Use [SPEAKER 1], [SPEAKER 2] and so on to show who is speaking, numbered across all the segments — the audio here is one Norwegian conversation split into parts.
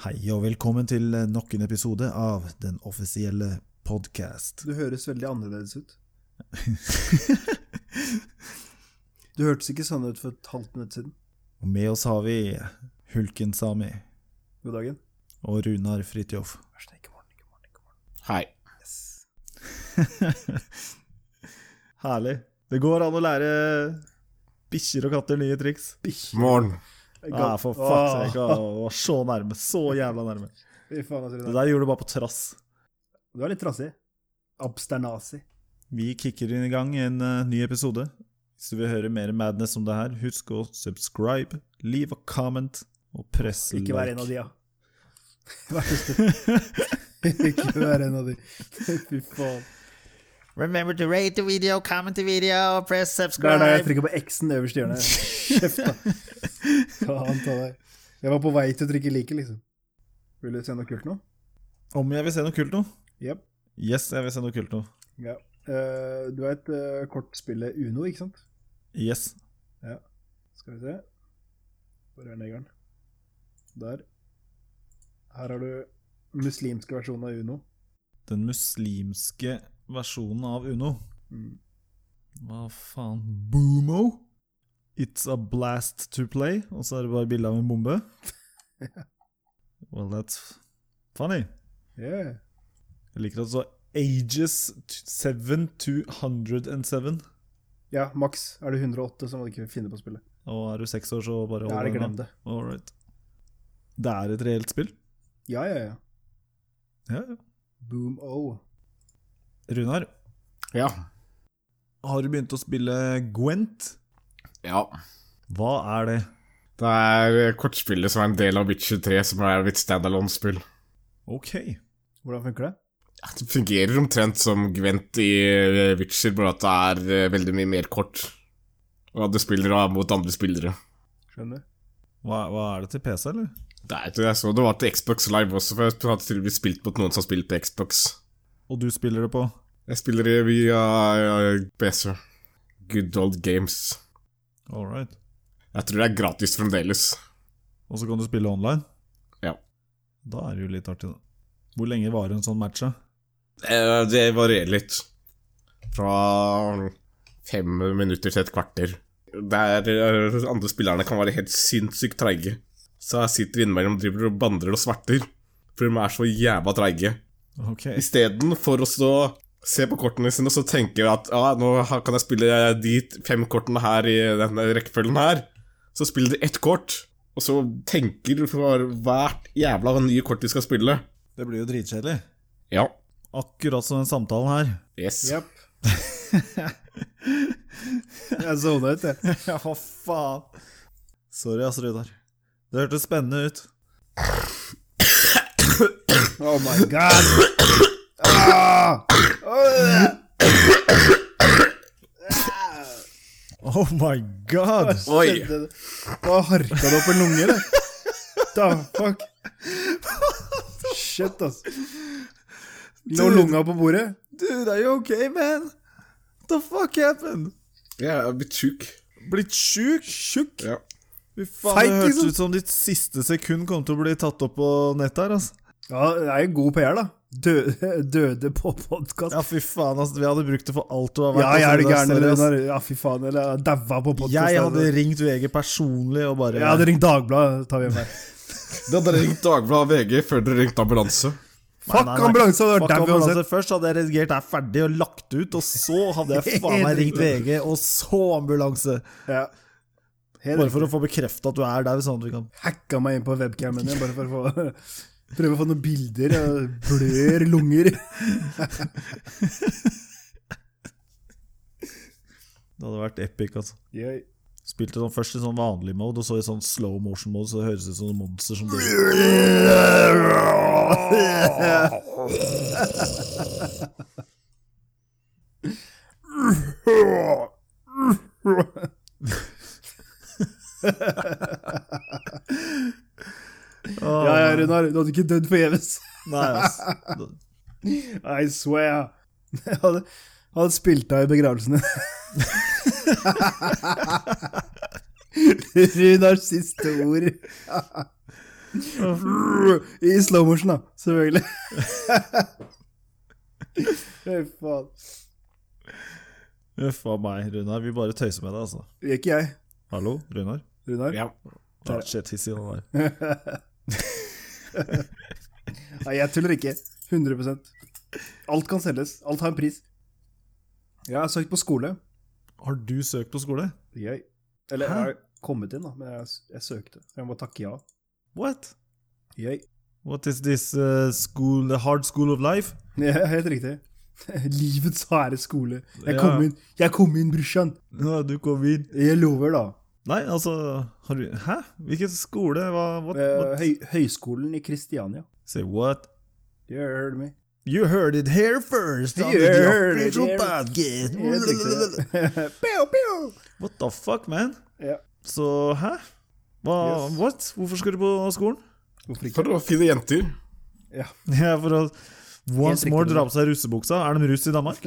[SPEAKER 1] Hei og velkommen til eh, nok en episode av Den offisielle podkast.
[SPEAKER 2] Du høres veldig annerledes ut. Du hørtes ikke sånn ut for et halvt minutt siden.
[SPEAKER 1] Og Med oss har vi Hulken Sami
[SPEAKER 2] God dagen.
[SPEAKER 1] og Runar Fridtjof.
[SPEAKER 2] Vær så snill, ikke morgen, ikke morgen, ikke morgen.
[SPEAKER 3] Hei.
[SPEAKER 2] Yes.
[SPEAKER 1] Herlig. Det går an å lære bikkjer og katter nye triks.
[SPEAKER 2] Bikkje. Ah,
[SPEAKER 3] Morn.
[SPEAKER 1] Nei, Ah, for fuck's sake. å, å, Så nærme. Så jævla nærme.
[SPEAKER 2] Fy faen, altså.
[SPEAKER 1] Det
[SPEAKER 2] Runar.
[SPEAKER 1] der gjorde du bare på trass.
[SPEAKER 2] Du er litt trassig. Absternasi.
[SPEAKER 1] Vi kicker inn i gang en eh, ny episode. Hvis du vil høre mer madness om det her, husk å subscribe, leave a comment og press
[SPEAKER 2] Ikke vær en av
[SPEAKER 1] like.
[SPEAKER 2] de, ja. Vær så snill. Ikke vær en av de. Fy faen.
[SPEAKER 1] Remember to rate the video, comment the video, press
[SPEAKER 2] Der, der, jeg
[SPEAKER 1] subscribe.
[SPEAKER 2] trykker på X-en øverst i hjørnet. Kjeft, da. Faen ta deg. Jeg var på vei til å trykke like, liksom. Vil du se noe kult nå?
[SPEAKER 1] Om jeg vil se noe kult nå?
[SPEAKER 2] Jepp.
[SPEAKER 1] Yes, jeg vil se noe kult nå.
[SPEAKER 2] Ja. Eh, du vet uh, kortspillet Uno, ikke sant?
[SPEAKER 1] Yes.
[SPEAKER 2] Skal vi se. Hvor er negeren? Der. Her har du muslimske versjonen av Uno.
[SPEAKER 1] Den muslimske versjonen av Uno.
[SPEAKER 2] Mm.
[SPEAKER 1] Hva faen? Boomo? It's a blast to play. Og så er det bare bilde av en bombe. Well, that's funny.
[SPEAKER 2] Yeah.
[SPEAKER 1] Jeg liker at det står ages 7 to 107.
[SPEAKER 2] Ja, maks. Er du 108, så må du ikke finne på spillet.
[SPEAKER 1] Og er du seks år, så bare
[SPEAKER 2] Ja, er det
[SPEAKER 1] den,
[SPEAKER 2] glem
[SPEAKER 1] da.
[SPEAKER 2] det.
[SPEAKER 1] All right. Det er et reelt spill.
[SPEAKER 2] Ja, ja, ja.
[SPEAKER 1] Ja, ja.
[SPEAKER 2] Boom oh. O.
[SPEAKER 1] Runar,
[SPEAKER 3] Ja.
[SPEAKER 1] har du begynt å spille Gwent?
[SPEAKER 3] Ja.
[SPEAKER 1] Hva er det?
[SPEAKER 3] Det er kortspillet som er en del av Witcher 3, som er litt standalone-spill.
[SPEAKER 1] Ok.
[SPEAKER 2] Hvordan funker det?
[SPEAKER 3] Det fungerer omtrent som Gwent i eh, Witcher, bare at det er eh, veldig mye mer kort. Og at du spiller da mot andre spillere.
[SPEAKER 2] Skjønner.
[SPEAKER 1] Hva, hva er det til PC, eller?
[SPEAKER 3] Det er ikke det. Jeg så det var til Xbox Live også, for jeg har tydeligvis spilt mot noen som har spilt på Xbox.
[SPEAKER 1] Og du spiller det på?
[SPEAKER 3] Jeg spiller det via eh, PC. Good old games.
[SPEAKER 1] All right.
[SPEAKER 3] Jeg tror det er gratis fremdeles.
[SPEAKER 1] Og så kan du spille online?
[SPEAKER 3] Ja.
[SPEAKER 1] Da er det jo litt artig, da. Hvor lenge varer en sånn match, da?
[SPEAKER 3] Eh, Det varierer litt. Fra fem minutter til et kvarter. Der eh, andre spillerne kan være helt sinnssykt treige. Så jeg sitter innimellom og driver og bandrer og sverter. For de er så jævla treige.
[SPEAKER 1] Ok.
[SPEAKER 3] Istedenfor å stå se på kortene sine og så tenke at ah, nå har- kan jeg spille eh, de fem kortene her i denne rekkefølgen her. Så spiller de ett kort, og så tenker du for hvert jævla nye kort de skal spille.
[SPEAKER 1] Det blir jo dritkjedelig.
[SPEAKER 3] Ja.
[SPEAKER 1] Akkurat som den samtalen her.
[SPEAKER 3] Yes.
[SPEAKER 2] Jepp. jeg sovna ut, jeg.
[SPEAKER 1] ja, hva faen? Sorry, ass, Runar. Det hørtes spennende ut.
[SPEAKER 2] Oh my god. Ah! Åh!
[SPEAKER 1] Oh my god!
[SPEAKER 3] Oi.
[SPEAKER 2] Skjedde det? Da harka det opp en lunge, eller? Da, fuck. Shit, ass. Lå
[SPEAKER 1] Dude.
[SPEAKER 2] lunga på bordet?
[SPEAKER 1] Dude, are you okay, man? The fuck happened?
[SPEAKER 3] Jeg er blitt sjuk.
[SPEAKER 1] Blitt sjuk? Tjukk?
[SPEAKER 3] Ja.
[SPEAKER 1] Fy faen,
[SPEAKER 2] Feit,
[SPEAKER 1] det hørtes
[SPEAKER 2] liksom.
[SPEAKER 1] ut som ditt siste sekund kom til å bli tatt opp på nettet her, altså.
[SPEAKER 2] Ja, det er jo god PR, da. Døde, døde på podkast.
[SPEAKER 1] Ja, fy faen, ass. Vi hadde brukt det for alt du har vært.
[SPEAKER 2] Ja, jeg
[SPEAKER 1] ass.
[SPEAKER 2] er det gæren,
[SPEAKER 1] Sorry, ass.
[SPEAKER 2] Runar. Ja, fy faen. Eller jeg daua på podkast.
[SPEAKER 1] Jeg hadde ringt VG personlig og bare
[SPEAKER 2] Jeg hadde ringt Dagbladet. Tar vi en vei.
[SPEAKER 3] Det hadde ringt Dagbladet og VG før dere ringte ambulanse.
[SPEAKER 1] Nei,
[SPEAKER 2] Fuck
[SPEAKER 1] nei, nei.
[SPEAKER 2] ambulanse, hadde vært
[SPEAKER 1] Fuck altså."
[SPEAKER 2] dau
[SPEAKER 1] ambulanse.
[SPEAKER 2] uansett.
[SPEAKER 1] Først hadde jeg redigert her ferdig og lagt ut, og så hadde jeg faen meg ringt VG, og så ambulanse.
[SPEAKER 2] Ja. Helt
[SPEAKER 1] Bare for å få bekrefta at du er der, sånn at vi kan
[SPEAKER 2] hacka meg inn på webcamen din, bare for å få prøve å få noen bilder. Jeg blør lunger.
[SPEAKER 1] Det hadde vært epic, altså.
[SPEAKER 2] Yay.
[SPEAKER 1] Spilte sånn først i sånn vanlig mode, og så i sånn slow motion mode, så det høres ut som noen monster som dør.
[SPEAKER 2] Ja, ja, Runar, du hadde ikke dødd forgjeves.
[SPEAKER 1] Nei, altså.
[SPEAKER 2] I swear. Jeg hadde, hadde spilt av i begravelsen din. Runars siste ord. I slow motion, da. Selvfølgelig. Fy faen.
[SPEAKER 1] Uff a meg, Runar. Vi bare tøyser med deg, altså.
[SPEAKER 2] Det gjør ikke jeg,
[SPEAKER 1] Hallo, Runar?
[SPEAKER 2] Runar.
[SPEAKER 3] Ja.
[SPEAKER 1] Ja, shit, hissig han der.
[SPEAKER 2] Nei, jeg tuller ikke. 100 Alt kan selges. Alt har en pris. Jeg har søkt på skole.
[SPEAKER 1] Har du søkt på skole?
[SPEAKER 2] Jeg. Eller
[SPEAKER 1] Hæ?
[SPEAKER 2] jeg har kommet inn, da, men jeg, jeg søkte. Jeg må bare takke ja.
[SPEAKER 1] What?
[SPEAKER 2] Jeg.
[SPEAKER 1] What is this uh, school, the hard school of life?
[SPEAKER 2] Ja, helt riktig. Livets harde skole. Jeg
[SPEAKER 1] Ja.
[SPEAKER 2] kom inn, jeg kom inn, brorsan.
[SPEAKER 1] Nå, du kom inn.
[SPEAKER 2] Jeg lover, da.
[SPEAKER 1] Nei, altså har du, Hæ? Hvilken skole? Hva? What?
[SPEAKER 2] Eh,
[SPEAKER 1] what?
[SPEAKER 2] Høy, høyskolen i Kristiania.
[SPEAKER 1] Say what?
[SPEAKER 2] You heard me.
[SPEAKER 1] You heard it here first on
[SPEAKER 2] You
[SPEAKER 1] the
[SPEAKER 2] heard it
[SPEAKER 1] official
[SPEAKER 2] here. Helt
[SPEAKER 1] podcast.
[SPEAKER 2] riktig. Pew, pew.
[SPEAKER 1] What the fuck, man?
[SPEAKER 2] Ja.
[SPEAKER 1] Så hæ? Hva,
[SPEAKER 2] Yes.
[SPEAKER 1] What? Hvorfor skal du på skolen?
[SPEAKER 2] Hvorfor ikke?
[SPEAKER 3] For å finne jenter.
[SPEAKER 1] Ja, for å Once
[SPEAKER 2] riktig,
[SPEAKER 1] more
[SPEAKER 2] det.
[SPEAKER 1] dra på seg russebuksa. Er de russ i Danmark?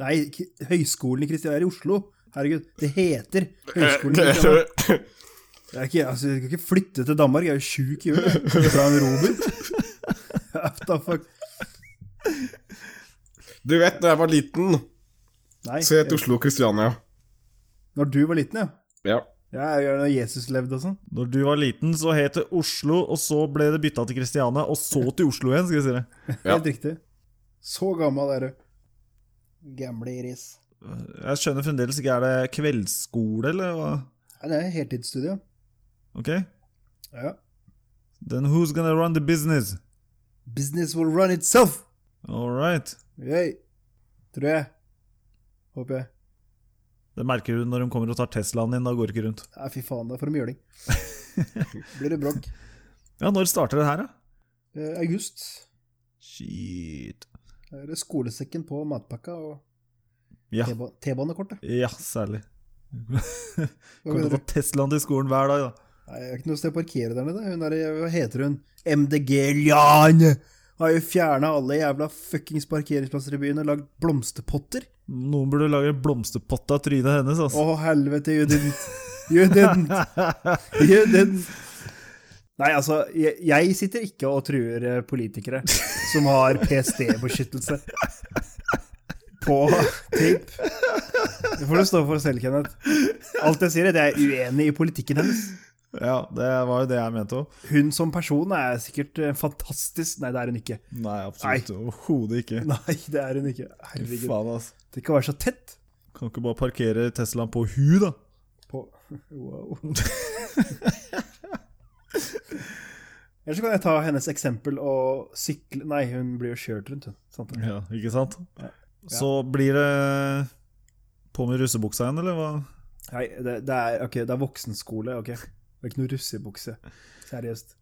[SPEAKER 2] Nei, K- Høgskolen i Kristiania er i Oslo. Herregud, det heter
[SPEAKER 3] Eh,
[SPEAKER 2] Høgskolen i Kristiania.
[SPEAKER 3] Nei,
[SPEAKER 2] Jeg, er ikke, altså, jeg kan ikke flytte til Danmark, jeg er jo sjuk i huet. Fra en Robert. What the fuck.
[SPEAKER 3] Du vet, da jeg var liten,
[SPEAKER 2] Nei,
[SPEAKER 3] så het Oslo Kristiania.
[SPEAKER 2] når du var liten, ja.
[SPEAKER 3] Ja.
[SPEAKER 2] Ja, jeg gjør det når Jesus levde og sånn.
[SPEAKER 1] Når du var liten, så het det Oslo, og så ble det bytta til Kristiania, og så til Oslo igjen, skal jeg si det.
[SPEAKER 3] Ja.
[SPEAKER 2] Helt riktig. Så gammel er du. Gamle Iris.
[SPEAKER 1] Jeg skjønner fremdeles ikke, er det kveldsskole, eller hva?
[SPEAKER 2] Nei, det er heltidsstudie.
[SPEAKER 1] Ok?
[SPEAKER 2] Ja.
[SPEAKER 1] Then who's gonna run the business?
[SPEAKER 2] Business will run itself!
[SPEAKER 1] All right.
[SPEAKER 2] Yay. Tror jeg. Håper jeg.
[SPEAKER 1] Det merker du når de kommer og tar Teslaen din, da går det ikke rundt.
[SPEAKER 2] Nei, fy faen, det er for mjøling. Blir det bråk.
[SPEAKER 1] Ja, når starter det her, da?
[SPEAKER 2] Eh, august
[SPEAKER 1] Shit.
[SPEAKER 2] er det skolesekken på matpakka og
[SPEAKER 1] Ja,
[SPEAKER 2] T-ba- T-banekortet.
[SPEAKER 1] ja særlig.
[SPEAKER 2] Hva
[SPEAKER 1] Kommer
[SPEAKER 2] mener
[SPEAKER 1] til å
[SPEAKER 2] du?
[SPEAKER 1] ta Teslaen til skolen hver dag, da.
[SPEAKER 2] Nei, jeg har ikke noe sted å parkere der nede. Hun er, hva heter hun? MDG Liane! Har jo fjerna alle jævla fuckings parkeringsplasser i byen og lagd blomsterpotter.
[SPEAKER 1] Noen burde lage blomsterpott av trynet hennes,
[SPEAKER 2] Å,
[SPEAKER 1] altså.
[SPEAKER 2] helvete, you didn't. You didn't. You didn't. Nei, altså, jeg, jeg sitter ikke og truer eh, politikere som har PST-beskyttelse på tape. Det får du stå for selv, Kenneth. Alt jeg sier, er at jeg er uenig i politikken hennes.
[SPEAKER 1] ja, det var jo det jeg mente òg.
[SPEAKER 2] Hun som person er sikkert eh, fantastisk. Nei, det er hun ikke.
[SPEAKER 1] Nei, absolutt overhodet ikke.
[SPEAKER 2] Nei, det er hun ikke.
[SPEAKER 1] Fy
[SPEAKER 2] Herregud.
[SPEAKER 1] faen, altså.
[SPEAKER 2] Det kan være så tett.
[SPEAKER 1] Kan ikke bare parkere Teslaen på hu, da.
[SPEAKER 2] På Wow. Eller så kan jeg ta hennes eksempel og sykle Nei, hun blir jo kjørt rundt, hun. Sant? det?
[SPEAKER 1] Ja, ikke sant?
[SPEAKER 2] Ja.
[SPEAKER 1] Så blir det på med russebuksa igjen, eller hva?
[SPEAKER 2] Nei, det, det, er, ok, det er voksenskole, ok. Det er ikke noe russebukse. Seriøst.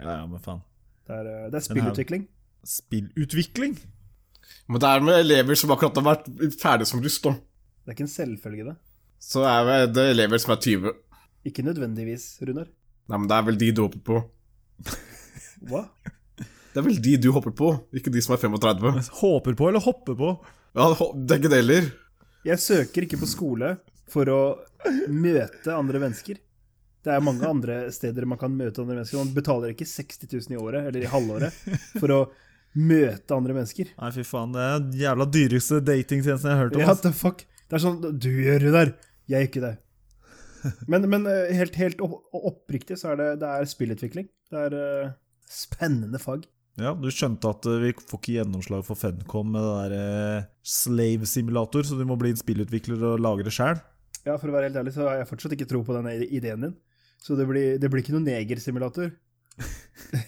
[SPEAKER 1] Ja, ja, men faen.
[SPEAKER 2] Det er, eh, det er spillutvikling.
[SPEAKER 1] Spillutvikling?
[SPEAKER 3] Men det er med elever som akkurat har vært ferdig som russ, da.
[SPEAKER 2] Det er ikke en selvfølge, det.
[SPEAKER 3] Så er vel det elever som er 20.
[SPEAKER 2] Ikke nødvendigvis, Runar.
[SPEAKER 3] Nei, men det er vel de du hopper på.
[SPEAKER 2] Hva?
[SPEAKER 3] Det er vel de du hopper på, ikke de som er 35.
[SPEAKER 1] Håper på eller hopper på?
[SPEAKER 3] Ja, ho- det er ikke det heller.
[SPEAKER 2] Jeg søker ikke på skole for å møte andre mennesker. Det er mange andre steder man kan møte andre mennesker. Man betaler ikke 60 000 i året, eller i halvåret, for å møte andre mennesker.
[SPEAKER 1] Nei, fy faen, det er den jævla dyreste datingtjenesten jeg har hørt om.
[SPEAKER 2] What
[SPEAKER 1] ass.
[SPEAKER 2] the fuck? Det er sånn Du gjør det der, jeg gjør ikke det. Men, men eh, helt, helt opp- oppriktig så er det, det er spillutvikling. Det er eh, spennende fag.
[SPEAKER 1] Ja, du skjønte at eh, vi får ikke gjennomslag for Funcom med det der eh, slave simulator, så du må bli en spillutvikler og lage det sjæl?
[SPEAKER 2] Ja, for å være helt ærlig, så har jeg fortsatt ikke tro på den ideen din. Så det blir, det blir ikke noen negersimulator.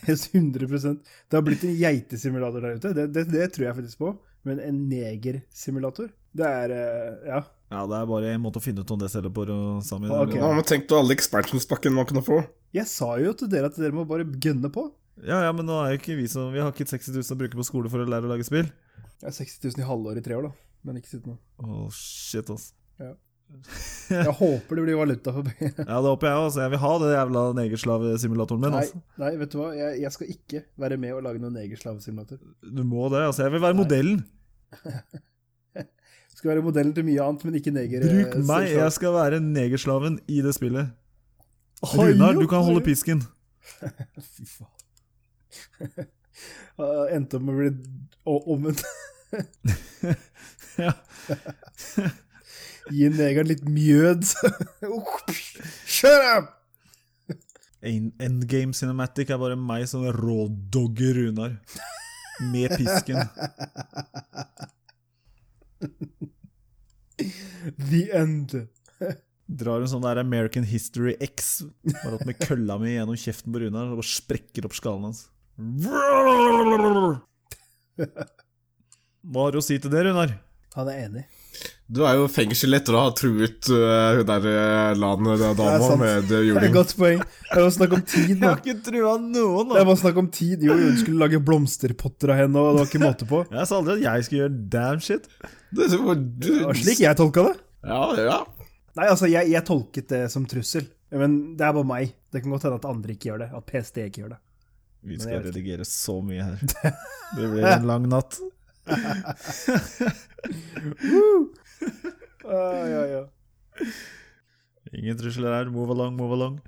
[SPEAKER 2] 100 Det har blitt en geitesimulator der ute, det, det, det tror jeg faktisk på. Men en negersimulator, det er eh, Ja.
[SPEAKER 1] Ja, det er bare en måte å finne ut om det selv på, og Sami.
[SPEAKER 2] Ah, Ok.
[SPEAKER 3] Ja, men tenk du alle expansionspakken man kunne få.
[SPEAKER 2] Jeg sa jo til dere at dere må bare gønne på.
[SPEAKER 1] Ja, ja, men nå er jo ikke vi som Vi har ikke 60 000 å bruke på skole for å lære å lage spill.
[SPEAKER 2] Jeg har 60 000 i halvår i tre år, da. Men ikke sitt nå.
[SPEAKER 1] Åh, shit, ass.
[SPEAKER 2] Jeg håper det blir valuta for pengene.
[SPEAKER 1] Ja, det håper jeg også. Jeg vil ha det jævla negerslavesimulatoren min.
[SPEAKER 2] Nei,
[SPEAKER 1] Altså.
[SPEAKER 2] nei, vet du hva. Jeg, jeg skal ikke være med og lage noen negerslavesimulator.
[SPEAKER 1] Du må det. altså. Jeg vil være
[SPEAKER 2] Nei.
[SPEAKER 1] modellen.
[SPEAKER 2] Skal være modellen til mye annet, men ikke neger...
[SPEAKER 1] Bruk
[SPEAKER 2] eh,
[SPEAKER 1] meg.
[SPEAKER 2] simulator.
[SPEAKER 1] Jeg skal være negerslaven i det spillet.
[SPEAKER 2] Hei,
[SPEAKER 1] Runar,
[SPEAKER 2] jo,
[SPEAKER 1] du kan holde
[SPEAKER 2] hei.
[SPEAKER 1] pisken.
[SPEAKER 2] Fy faen. Jeg endte opp med å bli o- omvendt.
[SPEAKER 1] Ja.
[SPEAKER 2] Gi negeren litt mjød. Shut up!
[SPEAKER 1] En- Endgame Cinematic er bare meg som rådogger Runar. Med pisken.
[SPEAKER 2] The end.
[SPEAKER 1] Drar en sånn der American History X bare opp med kølla mi gjennom kjeften på Runar og bare sprekker opp skallen hans. Hva har du å si til det, Runar?
[SPEAKER 2] Han er enig.
[SPEAKER 3] Du er jo fengsel etter å ha truet øh, hun der øh, landet der
[SPEAKER 2] Det er
[SPEAKER 3] dama
[SPEAKER 2] sant.
[SPEAKER 3] med øh,
[SPEAKER 2] Det er et
[SPEAKER 3] juling.
[SPEAKER 2] godt poeng. Det var snakk om tid, da.
[SPEAKER 1] ikke trua noen,
[SPEAKER 2] Det var snakk om tid. Jo, hun skulle lage blomsterpotter av henne, og det var ikke måte på.
[SPEAKER 1] Jeg sa aldri at jeg skulle gjøre damn shit.
[SPEAKER 3] Det er jo- du-
[SPEAKER 2] Det var slik jeg tolka det.
[SPEAKER 3] Ja, ja.
[SPEAKER 2] Nei, altså, jeg, jeg tolket det som trussel. Men det er bare meg. Det kan godt hende at andre ikke gjør det. At PST ikke gjør det.
[SPEAKER 1] Vi
[SPEAKER 2] Men
[SPEAKER 1] skal
[SPEAKER 2] jeg vet
[SPEAKER 1] redigere så mye her. Det blir en lang natt.
[SPEAKER 2] Ah, ja, ja.
[SPEAKER 1] Ingen trusler her. Move along, move along.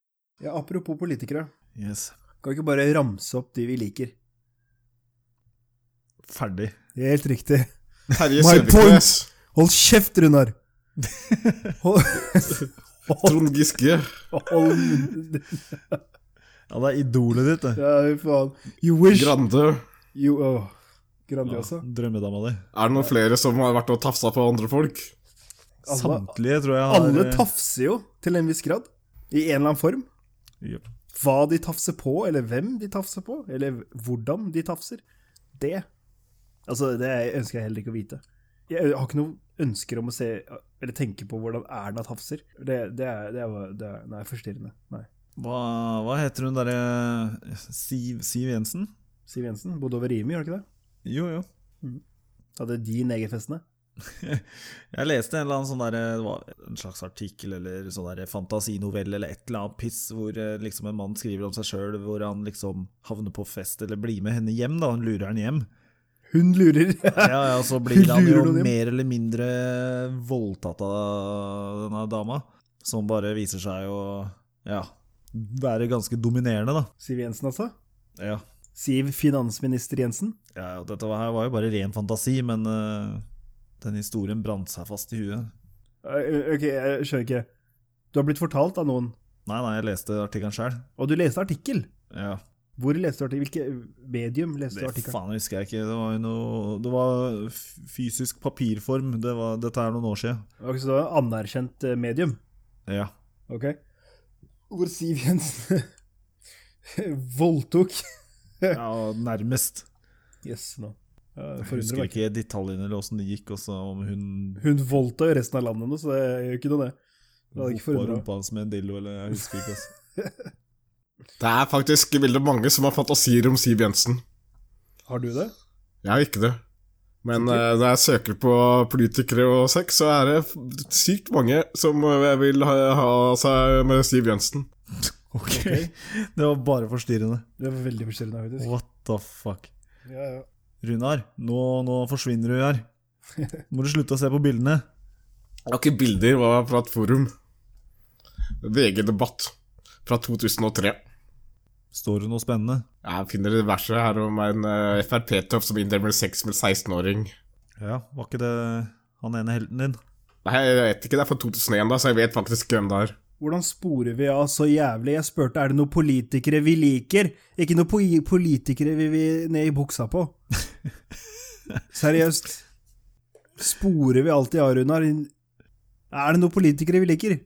[SPEAKER 2] ja, apropos politikere.
[SPEAKER 1] Yes.
[SPEAKER 2] Kan vi ikke bare ramse opp de vi liker?
[SPEAKER 1] Ferdig.
[SPEAKER 2] Helt riktig.
[SPEAKER 3] Terje
[SPEAKER 2] My
[SPEAKER 3] Søviknes,
[SPEAKER 2] Hold kjeft, Runar! Hold, hold,
[SPEAKER 3] Trond Giske,
[SPEAKER 2] hold munn din.
[SPEAKER 1] Ja, det er idolet ditt, det.
[SPEAKER 2] Ja, fy faen. You wish
[SPEAKER 3] Grande.
[SPEAKER 2] you, åh. Grandiosa.
[SPEAKER 1] Drømmedama di.
[SPEAKER 3] Er det noen flere som har vært og tafsa på andre folk?
[SPEAKER 2] Alle-
[SPEAKER 1] Samtlige tror jeg har
[SPEAKER 2] Altså,
[SPEAKER 1] eh,
[SPEAKER 2] Alle tafser jo, til en viss grad. I en eller annen form.
[SPEAKER 1] Jep.
[SPEAKER 2] Hva de tafser på, eller hvem de tafser på, eller hvordan de tafser, det Altså, det ønsker jeg heller ikke å vite. Jeg har ikke noe ønsker om å se eller tenke på hvordan Erna tafser. Det, det, er, det, er, det er Nei, forstyrrende. Nei.
[SPEAKER 1] Hva, hva heter hun derre Siv, Siv Jensen?
[SPEAKER 2] Siv Jensen bodde over Rimi, gjør det ikke det?
[SPEAKER 1] Jo, jo.
[SPEAKER 2] Hadde de negerfestene?
[SPEAKER 1] Jeg leste en eller annen sånn der, det var en slags artikkel eller sånn der fantasinovelle eller et eller annet piss, hvor eh, liksom en mann skriver om seg sjøl hvor han liksom havner på fest eller blir med henne hjem. da, Han lurer henne hjem.
[SPEAKER 2] Hun lurer!
[SPEAKER 1] Ja, ja, Så blir han jo
[SPEAKER 2] Lurer noen hjem.
[SPEAKER 1] mer eller mindre voldtatt av denne dama, som bare viser seg å ja, være ganske dominerende, da.
[SPEAKER 2] Siv Jensen, altså?
[SPEAKER 1] Ja.
[SPEAKER 2] Siv finansminister Jensen?
[SPEAKER 1] Ja, og dette var- her var jo bare ren fantasi, men eh, den historien brant seg fast i huet.
[SPEAKER 2] Eh, Ok, jeg skjønner ikke. Du har blitt fortalt av noen,
[SPEAKER 1] Nei, nei, jeg leste artikkelen sjøl.
[SPEAKER 2] og du leste artikkel.
[SPEAKER 1] Ja,
[SPEAKER 2] Hvor leste du artikkel? Hvilket medium leste du
[SPEAKER 1] det
[SPEAKER 2] artikkelen?
[SPEAKER 1] faen husker jeg ikke. Det var jo noe Det var f- fysisk papirform. Det var, dette er noen år siden.
[SPEAKER 2] Ok, så det var anerkjent eh, medium.
[SPEAKER 1] Ja.
[SPEAKER 2] Ok. Hvor Siv Jensen voldtok
[SPEAKER 1] ja nærmest.
[SPEAKER 2] Yes, nå. Jeg
[SPEAKER 1] Jeg husker ikke detaljene eller åssen det gikk, og så om hun
[SPEAKER 2] Hun voldta jo resten av landet nå, så det gjør ikke noe, det. Det hadde ikke
[SPEAKER 1] hoppa
[SPEAKER 2] forundret meg.
[SPEAKER 1] rumpa hans med en dildo, eller jeg husker ikke. Altså.
[SPEAKER 3] Det er faktisk veldig mange som har fantasier om Siv Jensen.
[SPEAKER 2] Har du det?
[SPEAKER 3] Jeg har ikke det. Men eh, når jeg søker på politikere og sex, så er det f- sykt mange som eh, vil ha, ha seg med Siv Jensen.
[SPEAKER 1] Ok. Det var bare forstyrrende.
[SPEAKER 2] Det var veldig forstyrrende, faktisk.
[SPEAKER 1] What the fuck.
[SPEAKER 2] Ja, ja.
[SPEAKER 1] Runar, nå, nå forsvinner du her. Må du slutte å se på bildene.
[SPEAKER 3] Jeg har ikke bilder det var fra et forum. VG-debatt fra 2003.
[SPEAKER 1] Står det noe spennende?
[SPEAKER 3] Jeg finner det verste her om en eh, Frp-tøff som innrømmer sex med en 16-åring.
[SPEAKER 1] Ja, var ikke det han ene helten din?
[SPEAKER 3] Nei, jeg vet ikke, det er fra 2001, da, så jeg vet faktisk hvem det er.
[SPEAKER 2] Hvordan sporer vi av så jævlig? Jeg spurte er det noen politikere vi liker, ikke noen po politikere vi vil ned i buksa på. Seriøst. Sporer vi alltid av, Runar? Er det noen politikere vi liker?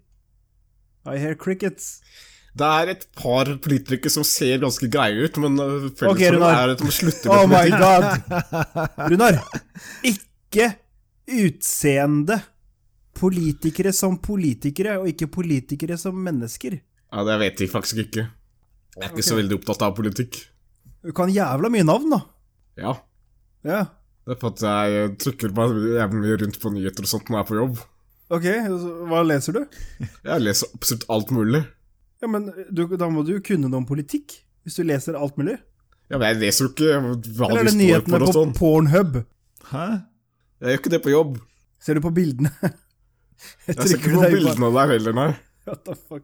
[SPEAKER 2] I hear crickets.
[SPEAKER 3] Det er et par politikere som ser ganske greie ut, men øh, felles
[SPEAKER 2] Ok,
[SPEAKER 3] for dem
[SPEAKER 2] Runar.
[SPEAKER 3] er at de slutter
[SPEAKER 2] Oh
[SPEAKER 3] med
[SPEAKER 2] my
[SPEAKER 3] politikk.
[SPEAKER 2] god! Runar, ikke utseende. Politikere som politikere, og ikke politikere som mennesker.
[SPEAKER 3] Ja, det vet jeg faktisk ikke. Jeg er ikke så veldig opptatt av politikk.
[SPEAKER 2] Du kan jævla mye navn, da.
[SPEAKER 3] Ja,
[SPEAKER 2] Ja.
[SPEAKER 3] det er for at jeg øh, trykker meg jævlig mye rundt på nyheter og sånt når jeg er på jobb.
[SPEAKER 2] Ok, så hva leser du?
[SPEAKER 3] Jeg leser absolutt alt mulig.
[SPEAKER 2] Ja, men eh, du, da må du jo kunne noe om politikk, hvis du leser alt mulig.
[SPEAKER 3] Ja, men jeg leser jo ikke hva
[SPEAKER 2] Eller er
[SPEAKER 3] de
[SPEAKER 2] det
[SPEAKER 3] står
[SPEAKER 2] nyhetene
[SPEAKER 3] for og
[SPEAKER 2] på
[SPEAKER 3] sånn.
[SPEAKER 2] Pornhub?
[SPEAKER 1] Hæ?
[SPEAKER 3] Jeg gjør ikke det på jobb.
[SPEAKER 2] Ser du på bildene?
[SPEAKER 3] Jeg ser ikke på bildene der heller, nei.
[SPEAKER 2] What the fuck?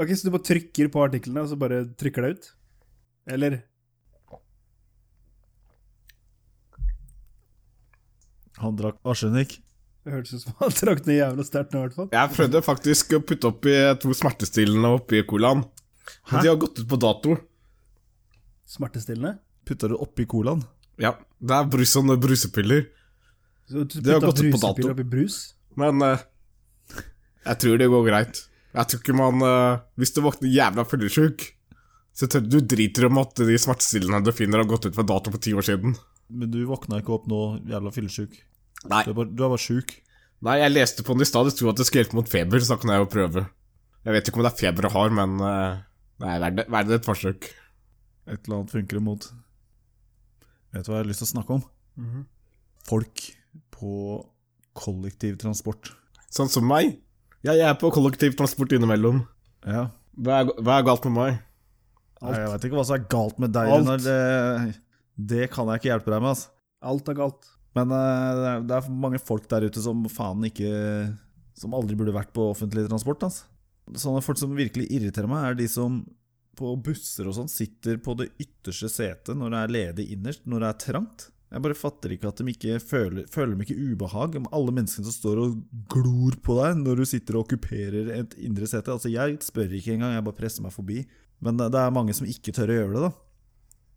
[SPEAKER 2] Ok, Så du bare trykker på artiklene, og så bare trykker det ut? Eller?
[SPEAKER 1] Han drakk arsenikk.
[SPEAKER 2] Det hørtes ut som han trakk ned jævla sterkt nå, i hvert fall.
[SPEAKER 3] Jeg prøvde faktisk å putte oppi to smertestillende oppi colaen. Men de har gått ut på dato.
[SPEAKER 2] Smertestillende.
[SPEAKER 1] Putta det oppi colaen.
[SPEAKER 3] Ja, det er brus og brusepiller.
[SPEAKER 2] Så du
[SPEAKER 3] Det har
[SPEAKER 2] putta
[SPEAKER 3] gått ut på
[SPEAKER 2] brusepiller
[SPEAKER 3] dato.
[SPEAKER 2] oppi brus?
[SPEAKER 3] Men eh, jeg tror det går greit. Jeg tror ikke man eh, Hvis du våkner jævla fyllesyk, så tør du driter om at de smertestillende du finner, har gått ut på dato for ti år siden.
[SPEAKER 1] Men du våkna ikke opp nå, jævla fyllesyk.
[SPEAKER 3] Nei.
[SPEAKER 1] Du er bare, du er bare sjuk.
[SPEAKER 3] Nei, jeg leste på den i stad. Det sto at det skal hjelpe mot feber, så da kan jeg jo prøve. Jeg vet ikke om det er feber jeg har, men eh, Nei, vær det, vær det et forsøk.
[SPEAKER 1] Et eller annet funker imot. Vet du hva jeg har lyst til å snakke om? Folk på kollektivtransport.
[SPEAKER 3] Sånn som meg. Ja, jeg er på kollektivtransport innimellom.
[SPEAKER 1] Ja.
[SPEAKER 3] Hva er, hva er galt med meg?
[SPEAKER 1] Nei, Jeg veit ikke hva som er galt med deg,
[SPEAKER 2] Alt.
[SPEAKER 1] Runar. Det, det kan jeg ikke hjelpe deg med. altså. ass.
[SPEAKER 2] Alt er galt.
[SPEAKER 1] Men eh, det er- det er mange folk der ute som faen ikke Som aldri burde vært på offentlig transport. ass. Sånne folk som virkelig irriterer meg, er de som på busser og sånn sitter på det ytterste setet når det er ledig innerst, når det er trangt. Jeg bare fatter ikke at de ikke føler, føler de ikke ubehag om alle menneskene som står og glor på deg når du sitter og okkuperer et indre sete. Altså, jeg spør ikke engang, jeg bare presser meg forbi. Men det, det er mange som ikke tør å gjøre det, da.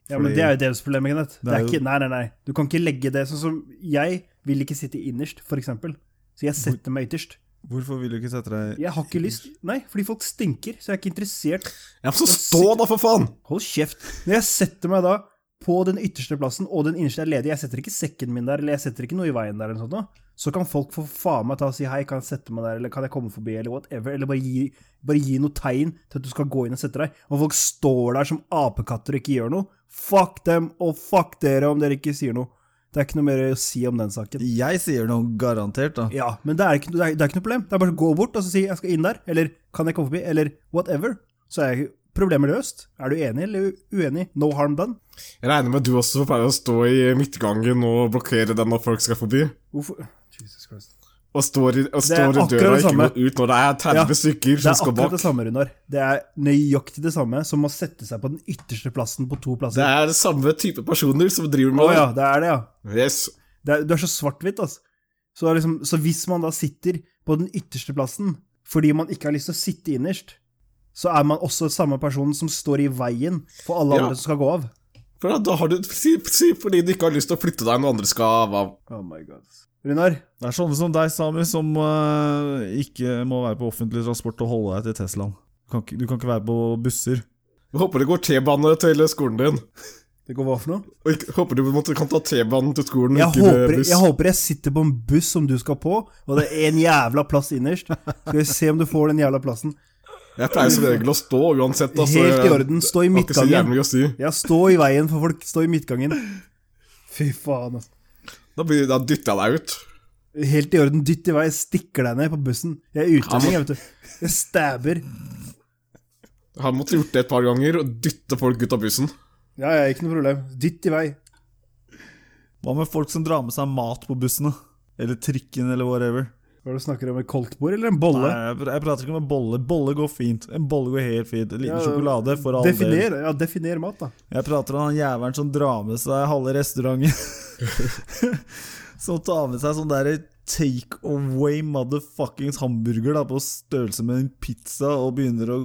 [SPEAKER 2] Ja,
[SPEAKER 1] Fordi-
[SPEAKER 2] men Det er jo deres problem. ikke sant? Det
[SPEAKER 1] er
[SPEAKER 2] er
[SPEAKER 1] jo-
[SPEAKER 2] ikke, nei, nei, nei. Du kan ikke legge det sånn som Jeg vil ikke sitte innerst, for eksempel. Så jeg setter meg ytterst.
[SPEAKER 1] Hvorfor vil du ikke sette deg
[SPEAKER 2] Jeg har ikke lyst. Nei, fordi folk stinker, så jeg er ikke interessert.
[SPEAKER 3] Ja, men så stå da, for faen!
[SPEAKER 2] Hold kjeft. Når jeg setter meg da på den ytterste plassen, og den innerste er ledig, jeg setter ikke sekken min der, eller jeg setter ikke noe i veien der, eller noe sånt, noe. så kan folk for faen meg ta og si hei, kan jeg sette meg der, eller kan jeg komme forbi, eller whatever, eller bare gi, bare gi noe tegn til at du skal gå inn og sette deg. Og folk står der som apekatter og ikke gjør noe. Fuck dem, og fuck dere om dere ikke sier noe. Det er ikke noe mer å si om den saken.
[SPEAKER 1] Jeg sier noe garantert, da.
[SPEAKER 2] Ja, men det er ikke, det er, det er ikke noe problem. Det er bare å gå bort og så si 'jeg skal inn der', eller 'kan jeg komme forbi', eller whatever. Så er problemet løst. Er du enig eller u- uenig? No harm done.
[SPEAKER 3] Jeg regner med du også pleier å stå i midtgangen og blokkere den når folk skal forbi.
[SPEAKER 2] Hvorfor Jesus Christ.
[SPEAKER 3] Og står i, og
[SPEAKER 2] Det er
[SPEAKER 3] står i
[SPEAKER 2] akkurat
[SPEAKER 3] døra og
[SPEAKER 2] det
[SPEAKER 3] ikke
[SPEAKER 2] samme.
[SPEAKER 3] går ut når det er 30
[SPEAKER 2] Ja,
[SPEAKER 3] stykker
[SPEAKER 2] Det
[SPEAKER 3] som
[SPEAKER 2] er
[SPEAKER 3] skal
[SPEAKER 2] akkurat
[SPEAKER 3] bak.
[SPEAKER 2] det samme, Runar. Det er nøyaktig det samme som å sette seg på den ytterste plassen på to
[SPEAKER 3] Det
[SPEAKER 2] plasser.
[SPEAKER 3] er samme type personer som driver
[SPEAKER 2] Å
[SPEAKER 3] med
[SPEAKER 2] ja, det er det, ja.
[SPEAKER 3] det. Yes.
[SPEAKER 2] Det er, du er så svart-hvitt, altså. Så, det er liksom, så hvis man da sitter på den ytterste plassen fordi man ikke har lyst til å sitte innerst, så er man også samme personen som står i veien for alle
[SPEAKER 3] Ja.
[SPEAKER 2] andre som skal gå av.
[SPEAKER 3] For da, da har du si, si fordi du ikke har lyst til å flytte deg når andre skal av. av.
[SPEAKER 2] Oh my god. Runar,
[SPEAKER 1] Det er sånne som deg, Sami, som eh, ikke må være på offentlig transport og holde deg til Teslaen. Du kan ikke, du kan ikke være på busser.
[SPEAKER 3] Jeg Håper det går T-bane til skolen din.
[SPEAKER 2] det går hva for noe?
[SPEAKER 3] Og ikke, håper du måtte, kan ta T-banen til skolen,
[SPEAKER 2] Jeg
[SPEAKER 3] ikke
[SPEAKER 2] håper,
[SPEAKER 3] buss.
[SPEAKER 2] jeg håper jeg sitter på en buss som du skal på, og det er en jævla plass innerst. Skal vi se om du får den jævla plassen.
[SPEAKER 3] Jeg pleier som regel å stå uansett. Altså,
[SPEAKER 2] Helt i orden, stå i
[SPEAKER 3] jeg har ikke så jævlig
[SPEAKER 2] midtgangen.
[SPEAKER 3] mye å si.
[SPEAKER 2] Ja, stå i veien for folk. Stå i midtgangen. Fy faen, altså.
[SPEAKER 3] Da, blir, da dytter jeg deg ut.
[SPEAKER 2] Helt i orden, dytt i vei. Stikker deg ned på bussen. Jeg er utlending,
[SPEAKER 3] Ja,
[SPEAKER 2] jeg, vet du. Jeg stabber.
[SPEAKER 3] Han måtte gjort det et par ganger, og dytte folk ut av bussen.
[SPEAKER 2] Ja, ja, ikke noe problem. Dytt i vei.
[SPEAKER 1] Hva med folk som drar med seg mat på bussene? Eller trikken, eller whatever.
[SPEAKER 2] Hva er det du snakker om? Et koltbord eller en
[SPEAKER 1] Nei,
[SPEAKER 2] bolle?
[SPEAKER 1] jeg, pr- jeg prater ikke om en bolle. Bolle går fint. En bolle går helt fint. En liten
[SPEAKER 2] Ja,
[SPEAKER 1] sjokolade for all del.
[SPEAKER 2] Definer, ja, definer mat, da.
[SPEAKER 1] Jeg prater om han jævelen som drar med seg halve restauranten. som tar med seg sånn derre take away motherfuckings hamburger da, på størrelse med en pizza og begynner å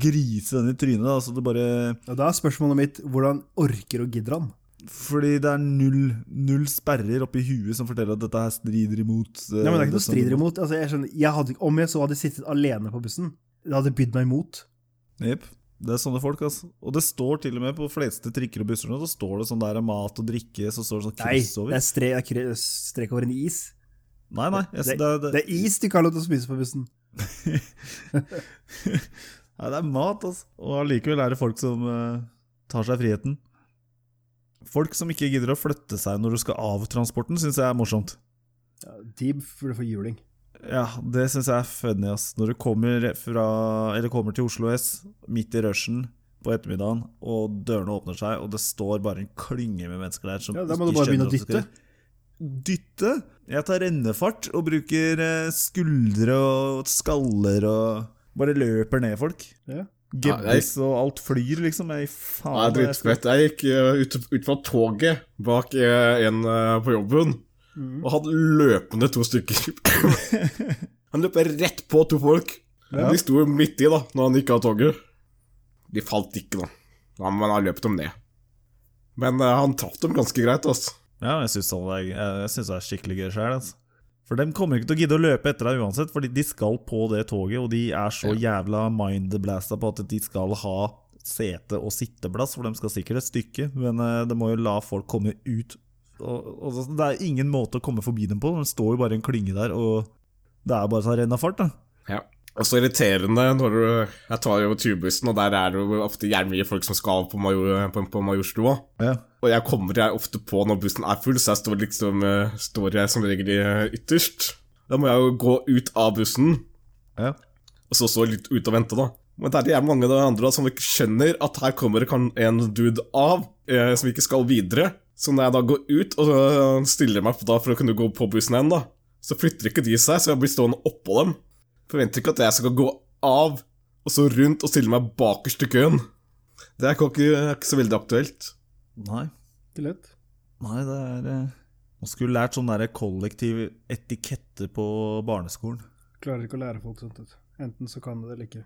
[SPEAKER 1] grise den i trynet. Da, så det bare
[SPEAKER 2] Ja, da er spørsmålet mitt hvordan orker og gidder han?
[SPEAKER 1] Fordi det er null, null sperrer oppi huet som forteller at dette her strider imot eh,
[SPEAKER 2] Nei, men det er ikke noe
[SPEAKER 1] som-
[SPEAKER 2] strider imot. Altså, jeg skjønner, jeg hadde, om jeg så hadde sittet alene på bussen, det hadde bydd meg imot.
[SPEAKER 1] Jep. Det er sånne folk, altså. Og det står til og med på fleste trikker og busser nå, så står det sånn der mat og drikke, så står det sånn
[SPEAKER 2] Nei,
[SPEAKER 1] kryss over.
[SPEAKER 2] det er stre, det er kre- strek over en is.
[SPEAKER 1] Nei, nei. Jeg,
[SPEAKER 2] Det,
[SPEAKER 1] det, er- det,
[SPEAKER 2] det er is du ikke har lov til å spise på bussen.
[SPEAKER 1] Nei, det er mat, altså. Og allikevel er det folk som eh, tar seg friheten. Folk som ikke gidder å flytte seg når du skal av transporten, syns jeg er morsomt.
[SPEAKER 2] Ja, de burde få juling.
[SPEAKER 1] Ja, det syns jeg er funny, ass. Når du kommer, fra, eller kommer til Oslo S midt i rushen på ettermiddagen, og dørene åpner seg, og det står bare en klynge med mennesker der som
[SPEAKER 2] Ja, da må du
[SPEAKER 1] ikke
[SPEAKER 2] bare
[SPEAKER 1] skjønner
[SPEAKER 2] begynne å
[SPEAKER 1] at du skal-
[SPEAKER 2] dytte.
[SPEAKER 1] Dytte? Jeg tar rennefart og bruker eh, skuldre og skaller og Bare løper ned folk.
[SPEAKER 2] Ja.
[SPEAKER 1] Gebbes og alt flyr, liksom. Jeg, faen,
[SPEAKER 3] Ja, det er dritfett. Jeg gikk eh, ut, ut fra toget bak eh, en eh, på jobben, og hadde løpende to stykker. han løp rett på to folk.
[SPEAKER 1] Ja.
[SPEAKER 3] De sto midt i da, når han gikk av toget. De falt ikke, da. Ja, men han løp dem ned. Men eh, han traff dem ganske greit, altså.
[SPEAKER 1] Ja, jeg syns det, er- jeg synes det er skikkelig gøy sjøl. Altså. For dem kommer ikke til å gidde å løpe etter deg uansett, fordi de skal på det toget, og de er så jævla mindblasta på at de skal ha sete- og sitteplass, for de skal sikkert et stykke, men eh, de må jo la folk komme ut. Og, og så- det er ingen måte å komme forbi dem på, de står jo bare i en klynge der, og det er bare så renn av fart, da.
[SPEAKER 3] Ja. Og så irriterende når du Jeg tar jo turbussen, og der er det jo ofte jævlig mye folk som skal av på, major, på, på Majorstua.
[SPEAKER 1] Ja.
[SPEAKER 3] Og jeg kommer jeg ofte på når bussen er full, så jeg står, liksom, eh, står jeg som regel eh, ytterst. Da må jeg jo gå ut av bussen,
[SPEAKER 1] ja.
[SPEAKER 3] og så stå litt ute og vente, da. Men det er jævlig mange av de andre da, som ikke skjønner at her kommer det kan- en dude av, eh, som ikke skal videre. Så når jeg da går ut og eh, stiller meg på da for å kunne gå på bussen igjen, da, så flytter ikke de seg, så jeg blir stående oppå dem. Forventer ikke at jeg skal gå av, og så rundt og stille meg bakerst i køen. Det er ikke, er ikke så veldig aktuelt.
[SPEAKER 1] Nei.
[SPEAKER 2] Ikke lett.
[SPEAKER 1] Nei, det er eh, Man skulle lært sånn derre kollektiv etikette på barneskolen.
[SPEAKER 2] Klarer ikke å lære folk sånt. vet du. Enten så kan du det eller ikke.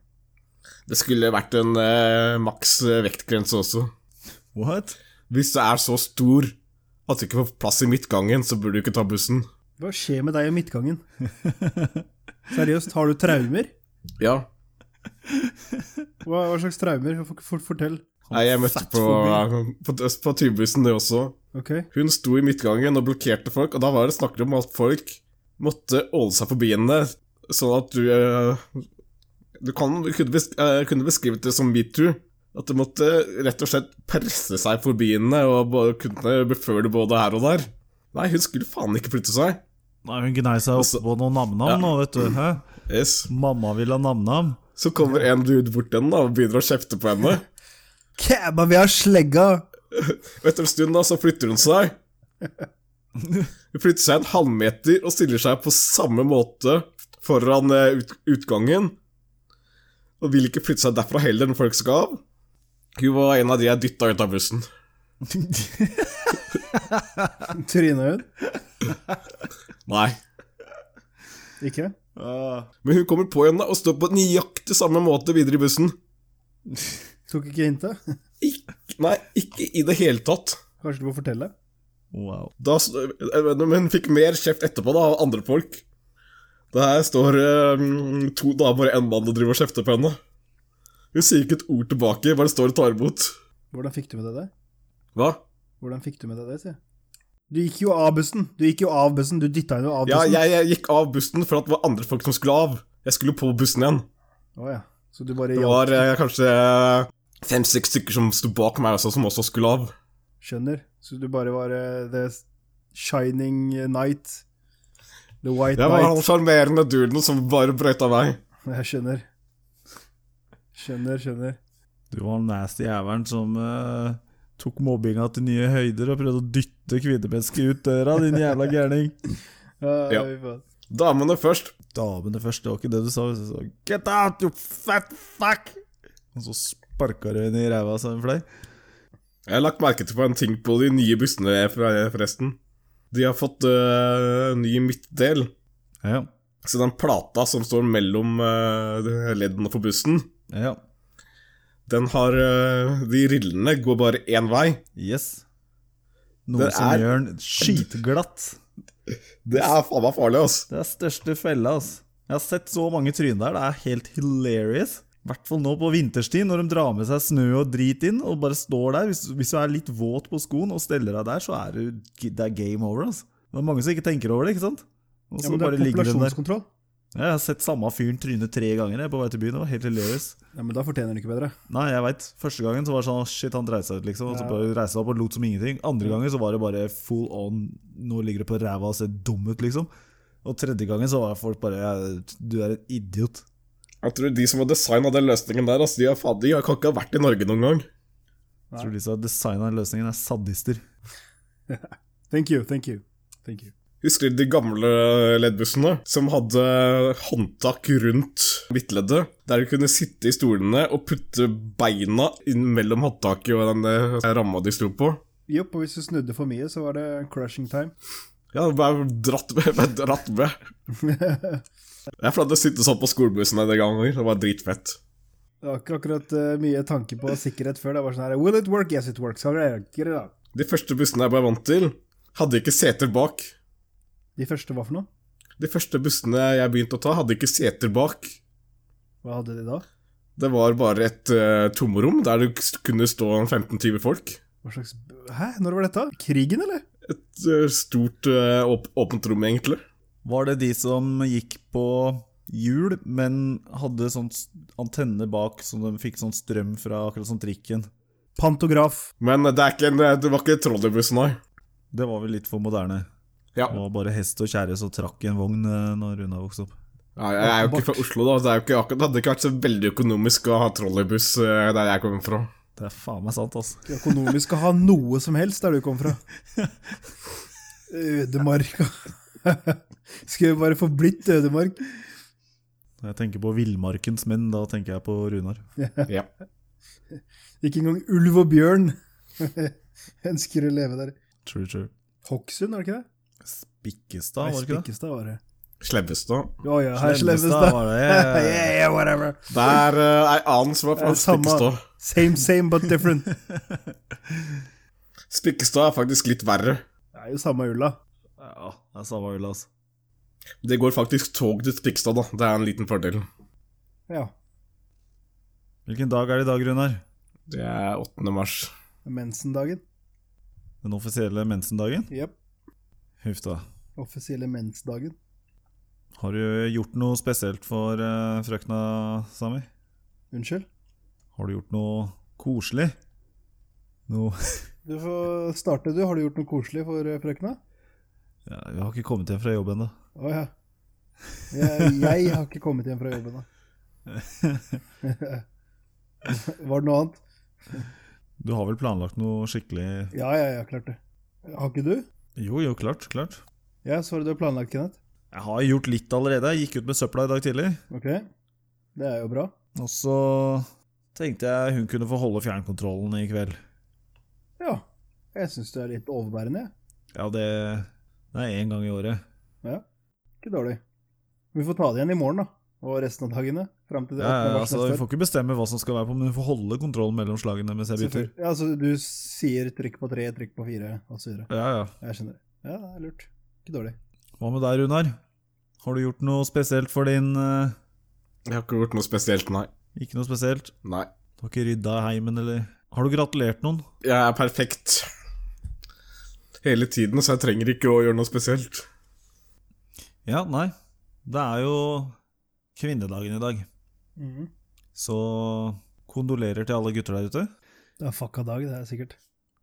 [SPEAKER 3] Det skulle vært en eh, maks eh, vektgrense også.
[SPEAKER 1] What?
[SPEAKER 3] Hvis du er så stor at du ikke får plass i midtgangen, så burde du ikke ta bussen.
[SPEAKER 2] Hva skjer med deg i midtgangen? Seriøst, har du traumer?
[SPEAKER 3] Ja.
[SPEAKER 2] Hva, hva slags traumer? For, for, fortell.
[SPEAKER 3] Nei, jeg møtte
[SPEAKER 1] Fett
[SPEAKER 3] på, på, på turbussen det også.
[SPEAKER 2] Ok.
[SPEAKER 3] Hun sto i midtgangen og blokkerte folk, og da var det snakk om at folk måtte åle seg forbi henne, sånn at du eh, Du kan, du kunne, besk eh, kunne beskrivet det som metoo. At du måtte rett og slett presse seg forbi henne og bare kunne beføle både her og der. Nei, hun skulle faen ikke flytte seg.
[SPEAKER 1] Nei, hun gnei seg opp
[SPEAKER 3] Også-
[SPEAKER 1] på noen nam-nam
[SPEAKER 3] Ja.
[SPEAKER 1] nå, vet du. Hæ?
[SPEAKER 3] Yes.
[SPEAKER 1] Mamma vil ha nam-nam.
[SPEAKER 3] Så kommer en dude bort til henne da, og begynner å kjefte på henne.
[SPEAKER 2] Kæba, vi har slegga!
[SPEAKER 3] Og etter en stund da, så flytter hun seg. Hun flytter seg en halvmeter og stiller seg på samme måte foran eh, ut utgangen. Og vil ikke flytte seg derfra heller når folk skal av. Hun var en av de jeg dytta ut av bussen.
[SPEAKER 2] Tryna hun?
[SPEAKER 3] Nei.
[SPEAKER 2] Ikke?
[SPEAKER 3] Men hun kommer på henne og står på nøyaktig samme måte videre i bussen.
[SPEAKER 2] Tok ikke hintet?
[SPEAKER 3] Ikk- nei, ikke i det hele tatt.
[SPEAKER 2] Kanskje du må fortelle?
[SPEAKER 1] Wow.
[SPEAKER 3] Da, s- eh, men hun fikk mer kjeft etterpå da, av andre folk. Der står eh, to damer og en mann og driver og kjefter på henne. Hun sier ikke et ord tilbake, bare står og tar imot.
[SPEAKER 2] Hvordan fikk du med deg det?
[SPEAKER 3] Hva?
[SPEAKER 2] Hvordan fikk du med deg det, sier jeg? Du gikk jo av bussen. Du gikk jo av bussen. Du dytta henne jo av
[SPEAKER 3] Ja,
[SPEAKER 2] bussen.
[SPEAKER 3] jeg, jeg gikk av bussen for at det var andre folk som skulle av. Jeg skulle på bussen igjen.
[SPEAKER 2] Å ja. Så du bare
[SPEAKER 3] Det
[SPEAKER 2] hjalp?
[SPEAKER 3] var eh, kanskje fem-seks stykker som sto bak meg også, som også skulle av.
[SPEAKER 2] Skjønner. Så du bare var eh, The Shining Night. The White
[SPEAKER 3] Det var han
[SPEAKER 2] Night.
[SPEAKER 3] sjarmerende duden som bare brøyta vei.
[SPEAKER 2] Jeg skjønner. Skjønner, skjønner.
[SPEAKER 1] Du var den nasty jævelen som eh, tok mobbinga til nye høyder og prøvde å dytte kvinnemennesket ut døra, din jævla gærning.
[SPEAKER 3] Ja.
[SPEAKER 2] fy faen.
[SPEAKER 3] Damene først.
[SPEAKER 1] Damene først, det var ikke det du sa. Du sa 'get out, you fat fuck'! Og så sparka du henne i ræva som en fløy.
[SPEAKER 3] Jeg har lagt merke til på en ting på de nye bussene, fra- forresten. De har fått eh, ny midtdel.
[SPEAKER 1] Ja.
[SPEAKER 3] Så den plata som står mellom eh, leddene på bussen,
[SPEAKER 1] ja.
[SPEAKER 3] den har eh, De rillene går bare én vei.
[SPEAKER 1] Yes. Noe
[SPEAKER 3] Det
[SPEAKER 1] som
[SPEAKER 3] er-
[SPEAKER 1] gjør den skitglatt.
[SPEAKER 3] Det er faen meg farlig, ass.
[SPEAKER 1] Det er største fella, altså. Jeg har sett så mange tryn der, det er helt hilarious. I hvert fall nå på vinterstid, når de drar med seg snø og drit inn og bare står der. Hvis, hvis du er litt våt på skoen og steller deg der, så er du, det er game over, altså. Det er mange som ikke tenker over det, ikke sant? Og
[SPEAKER 2] Ja,
[SPEAKER 1] så
[SPEAKER 2] men det
[SPEAKER 1] bare
[SPEAKER 2] er
[SPEAKER 1] ligger de der.
[SPEAKER 2] populasjonskontroll.
[SPEAKER 1] Ja, Jeg har sett samme fyren tryne tre ganger jeg, på vei til byen, det var helt hilarious.
[SPEAKER 2] Ja, men da fortjener du ikke bedre.
[SPEAKER 1] Nei, jeg veit. Første gangen så var det sånn «Å, shit, han dreide seg ut, liksom. Og så
[SPEAKER 2] Ja.
[SPEAKER 1] bare reiste han opp og lot som ingenting. Andre ganger så var det bare full on, nå ligger du på ræva og ser dum ut, liksom. Og tredje gangen så var folk bare «Ja, Du er en idiot.
[SPEAKER 3] Jeg tror de som har designa den løsningen der, ass, de, har, faen, de har kan ikke ha vært i Norge noen gang.
[SPEAKER 2] Nei.
[SPEAKER 1] Tror de som har designa løsningen, er sadister.
[SPEAKER 2] Thank you, thank you. Thank you.
[SPEAKER 3] Husker du de gamle leddbussene som hadde håndtak rundt midtleddet? Der du kunne sitte i stolene og putte beina inn mellom håndtaket og den eh, ramma de sto på.
[SPEAKER 2] Jo, og hvis du snudde for mye, så var det crushing time.
[SPEAKER 3] Ja, bare dratt med. Bare dratt med. Jeg pleide å sitte sånn på skolebussene de ganger. Det var dritfett.
[SPEAKER 2] Det var ikke akkurat eh, mye tanke på sikkerhet før. Det var sånn her Will it work? Yes, it works. Skal jeg gjøre det da?
[SPEAKER 3] De første bussene jeg ble vant til, hadde ikke seter bak.
[SPEAKER 2] De første hva for noe?
[SPEAKER 3] De første bussene jeg begynte å ta, hadde ikke seter bak.
[SPEAKER 2] Hva hadde de da?
[SPEAKER 3] Det var bare et eh, tomrom der det s- kunne stå en 15-20 folk.
[SPEAKER 2] Hva slags Hæ, når var dette? Krigen, eller?
[SPEAKER 3] Et eh, stort eh, åp åpent rom, egentlig.
[SPEAKER 1] Var det de som gikk på hjul, men hadde sånn s- antenne bak, så de fikk sånn strøm fra akkurat som trikken?
[SPEAKER 2] Pantograf.
[SPEAKER 3] Men det, er ikke en, eh, det var ikke trolleybuss, nei.
[SPEAKER 1] Det var vel litt for moderne.
[SPEAKER 3] Ja.
[SPEAKER 1] Det var bare hest og kjerre som trakk i en vogn eh, når Runa vokste opp.
[SPEAKER 3] Ja, jeg er jo ikke fra Oslo, da. så Det, er jo ikke akkurat, det hadde ikke vært så veldig økonomisk å ha trolleybuss eh, der jeg kommer fra.
[SPEAKER 1] Det er faen meg sant, altså.
[SPEAKER 2] Økonomisk skal ha noe som helst der du kom fra. Ødemarka. Skulle bare få blitt ødemark.
[SPEAKER 1] Når jeg tenker på villmarkens menn, da tenker jeg på Runar.
[SPEAKER 3] Ja.
[SPEAKER 2] Ikke engang ulv og bjørn ønsker å leve der.
[SPEAKER 1] True, true.
[SPEAKER 2] Hokksund, var det ikke det?
[SPEAKER 1] Spikkestad, var det ikke det?
[SPEAKER 2] Spikkestad var det.
[SPEAKER 3] Slebbestad.
[SPEAKER 2] Å ja, her
[SPEAKER 1] Slemmestad
[SPEAKER 2] Slemmestad.
[SPEAKER 1] var
[SPEAKER 2] Yeah,
[SPEAKER 1] det.
[SPEAKER 2] yeah, whatever.
[SPEAKER 3] Det er uh, ei annen som er
[SPEAKER 2] Det
[SPEAKER 3] fra
[SPEAKER 2] er samme.
[SPEAKER 3] Spikkestad.
[SPEAKER 2] Same, same, but different.
[SPEAKER 3] Spikkestad er faktisk litt verre.
[SPEAKER 2] Det er jo samme ulla.
[SPEAKER 1] Ja, det er samme ulla, altså.
[SPEAKER 3] Det går faktisk tog til Spikkestad, da. Det er en liten fordel.
[SPEAKER 2] Ja.
[SPEAKER 1] Hvilken dag er det i dag, Runar?
[SPEAKER 3] Det er 8. mars.
[SPEAKER 2] Mensendagen.
[SPEAKER 1] Den offisielle mensendagen?
[SPEAKER 2] Jepp.
[SPEAKER 1] Huff da.
[SPEAKER 2] Offisielle mensdagen.
[SPEAKER 1] Har du gjort noe spesielt for eh, frøkna, Sami?
[SPEAKER 2] Unnskyld.
[SPEAKER 1] Har du gjort noe koselig? Noe
[SPEAKER 2] Du får starte, du. Har du gjort noe koselig for eh, frøkna?
[SPEAKER 1] ja, Jeg har ikke kommet hjem fra jobb ennå.
[SPEAKER 2] Å ja. Jeg, jeg har ikke kommet hjem fra jobben, da. Var det noe annet?
[SPEAKER 1] Du har vel planlagt noe skikkelig
[SPEAKER 2] Ja, ja, ja, klart det. Har ikke du?
[SPEAKER 1] Jo, jo, klart. klart.
[SPEAKER 2] Ja, så var det du har planlagt, Kenneth.
[SPEAKER 1] Jeg har gjort litt allerede. Jeg gikk ut med søpla i dag tidlig.
[SPEAKER 2] Ok. Det er jo bra.
[SPEAKER 1] Og så tenkte jeg hun kunne få holde fjernkontrollen i kveld.
[SPEAKER 2] Ja. Jeg syns du er litt overbærende, jeg.
[SPEAKER 1] Ja, det, det er én gang i året.
[SPEAKER 2] Ikke dårlig. Vi får ta det igjen i morgen, da. Og resten av dagene. Fram til
[SPEAKER 1] Ja,
[SPEAKER 2] det
[SPEAKER 1] ja,
[SPEAKER 2] åttende mars
[SPEAKER 1] altså,
[SPEAKER 2] neste
[SPEAKER 1] vi får ikke bestemme hva som skal være på, men hun får holde kontrollen mellom slagene mens jeg
[SPEAKER 2] år.
[SPEAKER 1] bytter.
[SPEAKER 2] Selvfølgelig. Ja, altså, du sier trykk på tre, trykk på fire, osv.
[SPEAKER 1] Ja, ja.
[SPEAKER 2] Jeg skjønner. Ja, det er lurt. Ikke dårlig.
[SPEAKER 1] Hva med deg, Runar? Har du gjort noe spesielt for din eh,
[SPEAKER 3] Jeg har ikke gjort noe spesielt, nei.
[SPEAKER 1] Ikke noe spesielt?
[SPEAKER 3] Nei.
[SPEAKER 1] Du har ikke rydda heimen, eller Har du gratulert noen?
[SPEAKER 3] Jeg er perfekt hele tiden, så jeg trenger ikke å gjøre noe spesielt.
[SPEAKER 1] Ja, nei. Det er jo kvinnedagen i dag,
[SPEAKER 2] Mhm.
[SPEAKER 1] så kondolerer til alle gutter der ute.
[SPEAKER 2] Det er fucka dag, det er sikkert.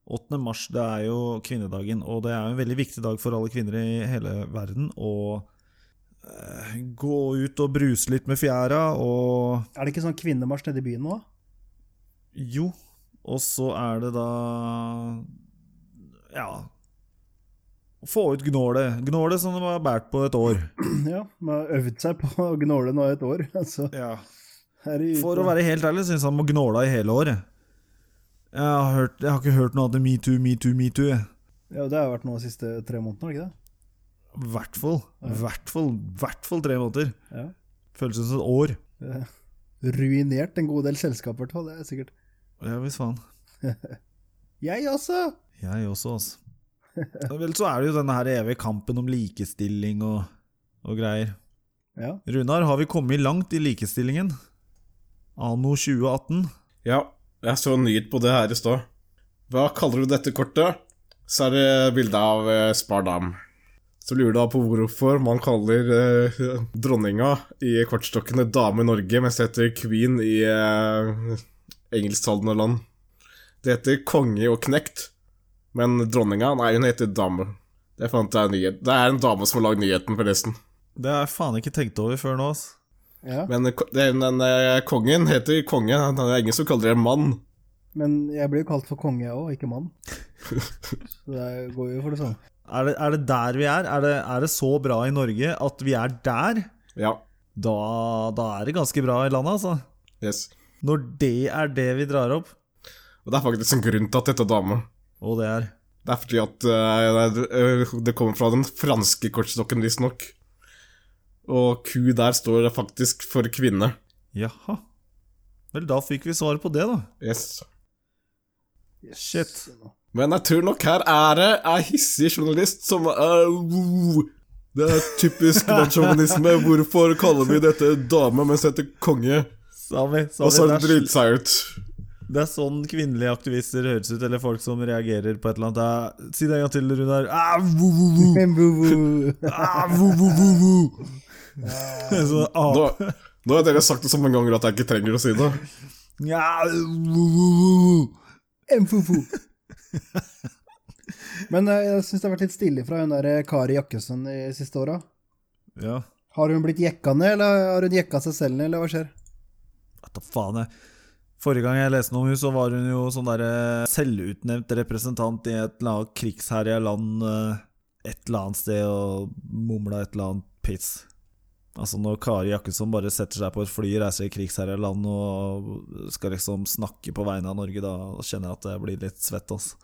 [SPEAKER 1] 8. mars det er jo kvinnedagen, og det er jo en veldig viktig dag for alle kvinner i hele verden. Og eh, gå ut og bruse litt med fjæra, og
[SPEAKER 2] Er det ikke sånn kvinnemarsj nede i byen nå, da?
[SPEAKER 1] jo. Og så er det da ja få ut gnålet. Gnålet som det var båret på et år.
[SPEAKER 2] Ja, man har øvd seg på å gnåle nå et år. Altså, her i
[SPEAKER 1] For å være helt ærlig syns han må gnåla i hele år. jeg. Jeg har, hørt, jeg har ikke hørt noe annet enn metoo, metoo, metoo. jeg.
[SPEAKER 2] Ja, Det har vært nå de siste tre månedene, har det ikke det?
[SPEAKER 1] I hvert fall. I hvert fall, hvert fall tre måneder.
[SPEAKER 2] Ja.
[SPEAKER 1] Føles som et år.
[SPEAKER 2] Ruinert en god del selskap, i hvert fall. Det er sikkert.
[SPEAKER 1] Ja visst faen.
[SPEAKER 2] Jeg også!
[SPEAKER 1] sånn, Jeg også, altså. Vel, så er det jo denne her evige kampen om likestilling og, og greier.
[SPEAKER 2] Ja.
[SPEAKER 1] Runar, har vi kommet langt i likestillingen? Anno 2018?
[SPEAKER 3] Ja, jeg så en nyhet på det her i stad. Hva kaller du dette kortet? Så er det bilde av eh, Spar Dam. Så lurer du da på hvorfor man kaller eh, dronninga i kortstokkene dame i Norge, mens det heter queen i eh, engelsktalende land. Det heter konge og knekt, men dronninga, nei, hun heter dame. Det fant jeg en nyhet. Det er en dame som har lagd nyheten, forresten.
[SPEAKER 1] Det har jeg faen ikke tenkt over før nå, ass.
[SPEAKER 2] ja.
[SPEAKER 3] Men ko- den, den eh, kongen heter konge. Det er ingen som kaller det mann.
[SPEAKER 2] Men jeg blir jo kalt for konge, jeg òg, ikke mann. Så det går jo for det samme.
[SPEAKER 1] Er det, er det der vi er? Er det, er det så bra i Norge at vi er der?
[SPEAKER 3] Ja.
[SPEAKER 1] Da, da er det ganske bra i landet, altså.
[SPEAKER 3] Yes.
[SPEAKER 1] Når det er det vi drar opp,
[SPEAKER 3] Og det er faktisk en grunn til at dette er dame.
[SPEAKER 1] og det er
[SPEAKER 3] Det er fordi at eh, det er- det kommer fra den franske kortstokken, visstnok. Og ku der står faktisk for kvinne.
[SPEAKER 1] Jaha. Vel, da fikk vi svar på det, da.
[SPEAKER 3] Yes.
[SPEAKER 1] Shit.
[SPEAKER 3] Men jeg tror nok her er det ei hissig journalist som er Det er typisk mannsjåvinisme. Hvorfor kaller vi dette dame, mens dette konge?
[SPEAKER 1] Sami, Sami,
[SPEAKER 3] Og så
[SPEAKER 1] det, er,
[SPEAKER 3] driter seg ut.
[SPEAKER 1] det er sånn kvinnelige aktivister høres ut, eller folk som reagerer på et eller annet. Eh, Si det en gang til, Runar. Ah, vo, vo, vo.
[SPEAKER 2] Men bu- bu-
[SPEAKER 1] Ah, vo, vo, vo, vo. Så, ah,
[SPEAKER 3] Nå, nå har dere sagt det så mange ganger at jeg ikke trenger å si det.
[SPEAKER 1] ja, vo, vo, vo, vo.
[SPEAKER 2] en fufu. Men eh, jeg syns det har vært litt stille fra hun der eh, Kari Jakkesson de siste åra.
[SPEAKER 1] Ja.
[SPEAKER 2] Har hun blitt jekka ned, eller har hun jekka seg selv ned, eller hva skjer?
[SPEAKER 1] Vet da faen jeg. Forrige gang jeg leste noe om henne, så var hun jo sånn der eh, selvutnevnt representant i et eller annet krigsherja land eh, et eller annet sted og mumla et eller annet piss. Altså når Kari Jakkesson bare setter seg på et fly, reiser i krigsherja land og skal liksom snakke på vegne av Norge, da kjenner jeg at jeg blir litt svett, altså.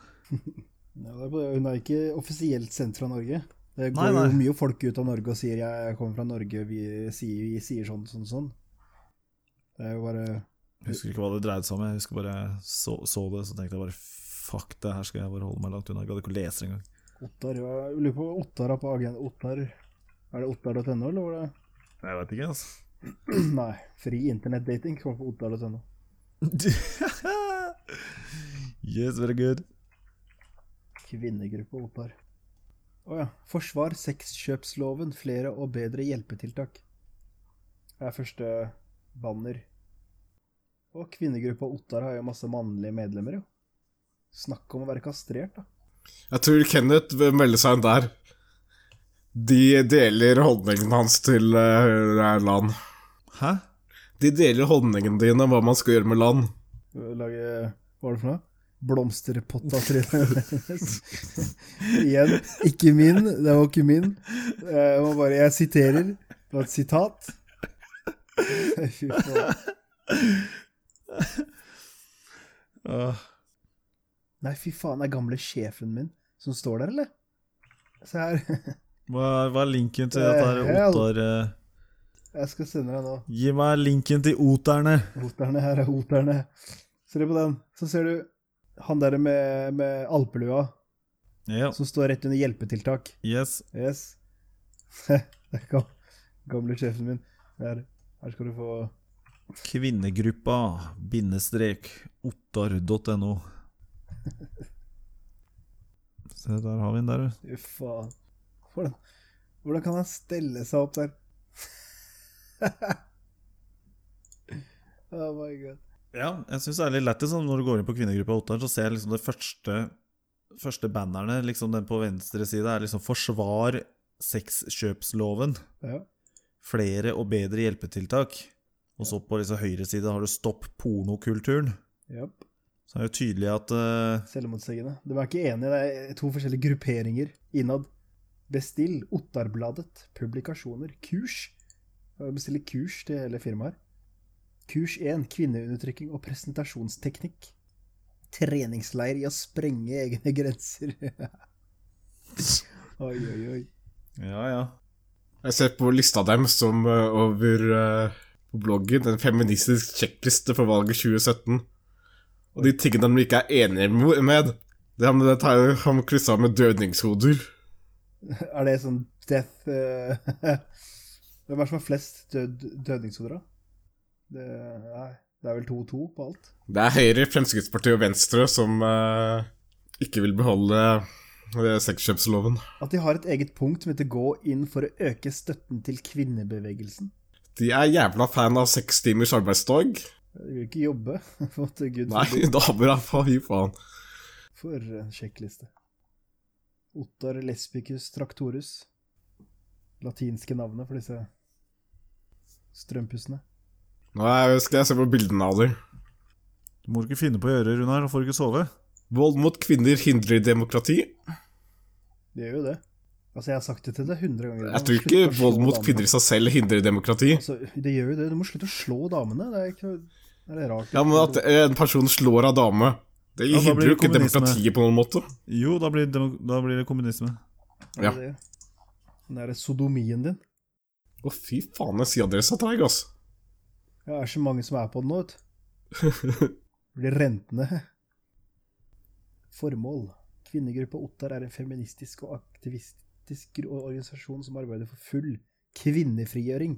[SPEAKER 2] Ja, det er på- Hun er ikke offisielt sendt fra Norge. Det
[SPEAKER 1] Nei,
[SPEAKER 2] går jo
[SPEAKER 1] nei.
[SPEAKER 2] mye folk ut av Norge og sier 'jeg kommer fra Norge', vi sier, vi sier sånn, sånn, sånn. Det er jo bare
[SPEAKER 1] Husker ikke hva det dreide seg om, jeg husker bare jeg så, så det, så tenkte jeg bare fuck det, her skal jeg bare holde meg langt unna. Jeg gadd ikke å lese det engang.
[SPEAKER 2] Ottar Jeg lurer på hva Ottar har på agenda. Ottar Er det ottar.no, eller var det
[SPEAKER 1] Jeg veit ikke, altså.
[SPEAKER 2] Nei. Fri internettdating kommer på ottar.no.
[SPEAKER 1] yes, very good.
[SPEAKER 2] Kvinnegruppe Ottar. Å ja. Forsvar sexkjøpsloven. Flere og bedre hjelpetiltak. Det er første banner. Og kvinnegruppa Ottar har jo masse mannlige medlemmer, jo. Snakk om å være kastrert, da.
[SPEAKER 3] Jeg tror Kenneth vil melde seg inn der. De deler holdningen hans til eh, land.
[SPEAKER 1] Hæ?
[SPEAKER 3] De deler holdningene dine om hva man skal gjøre med land.
[SPEAKER 2] Lage Hva var det for noe? Blomsterpotta-trynet hennes. Igjen, ikke min. Det var ikke min. Jeg, må bare, jeg siterer. Det var et sitat. Fy faen. Nei, fy faen, det er gamle sjefen min som står der, eller? Se her.
[SPEAKER 1] hva, er- hva er linken til dette her
[SPEAKER 2] Hell.
[SPEAKER 1] otar... eh,
[SPEAKER 2] Jeg skal sende deg nå.
[SPEAKER 1] Gi meg linken til oterne.
[SPEAKER 2] Oterne, her er oterne. Ser du på den? Så ser du han der med, med alpelua
[SPEAKER 1] Ja,
[SPEAKER 2] som står rett under hjelpetiltak.
[SPEAKER 1] yes.
[SPEAKER 2] Yes. det er gam- gamle sjefen min. Her, her skal du få
[SPEAKER 1] Kvinnegruppa, bindestrek, otar.no. Se, der har vi den der, du.
[SPEAKER 2] Fy faen. Hvordan, hvordan kan han stelle seg opp der? oh my god.
[SPEAKER 1] Ja, jeg syns det er litt lættis sånn, når du går inn på kvinnegruppa Ottar, så ser jeg liksom det første, første bannerne, liksom den på venstre side, er liksom 'Forsvar sexkjøpsloven'.
[SPEAKER 2] Ja.
[SPEAKER 1] flere og bedre hjelpetiltak. Og så på liksom høyre side har du stopp pornokulturen.
[SPEAKER 2] Japp.
[SPEAKER 1] Så er det jo tydelig at eh,
[SPEAKER 2] Selvmotsigende. De er ikke enige, det er to forskjellige grupperinger innad. Bestill Ottarbladet, publikasjoner, kurs. Bestille kurs til hele firmaet her. Kurs 1, kvinneundertrykking og presentasjonsteknikk. Treningsleir i å sprenge egne grenser. oi, oi, oi.
[SPEAKER 1] Ja, ja.
[SPEAKER 3] Jeg ser på lista dem som eh, over eh, på bloggen, en feministisk sjekkliste for valget 2017. Og de tingene de ikke er enige mo- med, det har det tar jo- har de kryssa med dødningshoder.
[SPEAKER 2] Er det sånn death eh, Hvem er det som har flest død, dødningshoder, da? Det, nei, det er vel 2-2 på alt?
[SPEAKER 3] Det er Høyre, Fremskrittspartiet og Venstre som eh, ikke vil beholde eh, sexkjøpsloven.
[SPEAKER 2] At de har et eget punkt som heter 'Gå inn for å øke støtten til kvinnebevegelsen'.
[SPEAKER 3] De er jævla fan av seks timers arbeidsdag.
[SPEAKER 2] De vil ikke jobbe. for at Gud
[SPEAKER 3] Nei,
[SPEAKER 2] forby.
[SPEAKER 3] damer er faen, fy faen.
[SPEAKER 2] For en sjekkliste. Ottar lesbicus traktorus. Latinske navnet for disse strømpussene.
[SPEAKER 3] Nå er- skal jeg se på bildene av dem.
[SPEAKER 1] Du må ikke finne på å gjøre, Runar. Da får du ikke sove.
[SPEAKER 3] Vold mot kvinner hindrer demokrati.
[SPEAKER 2] Det gjør jo det. Altså, jeg har sagt det til deg hundre ganger.
[SPEAKER 3] Jeg
[SPEAKER 2] Du
[SPEAKER 3] tror
[SPEAKER 2] må slutte
[SPEAKER 3] ikke
[SPEAKER 2] å slå
[SPEAKER 3] vold mot
[SPEAKER 2] damene.
[SPEAKER 3] kvinner i seg selv hindrer demokrati.
[SPEAKER 2] Altså, det gjør jo det. Du må slutte å slå damene. Det er ikke er det rart.
[SPEAKER 3] Ja, men at eh, en person slår av dame, det
[SPEAKER 1] Ja, da blir
[SPEAKER 3] hindrer jo
[SPEAKER 1] det
[SPEAKER 3] ikke
[SPEAKER 1] kommunisme.
[SPEAKER 3] demokratiet på noen måte.
[SPEAKER 1] Jo, da blir, demo- da blir det kommunisme.
[SPEAKER 3] ja.
[SPEAKER 2] Det, den derre sodomien din.
[SPEAKER 3] Å, fy faen, jeg sier adressa treig, ass.
[SPEAKER 2] Ja, det er så mange som er på den nå, vet du. Blir rentende. Formål. Kvinnegruppa Ottar er en feministisk og aktivistisk gru- organisasjon som arbeider for full kvinnefrigjøring.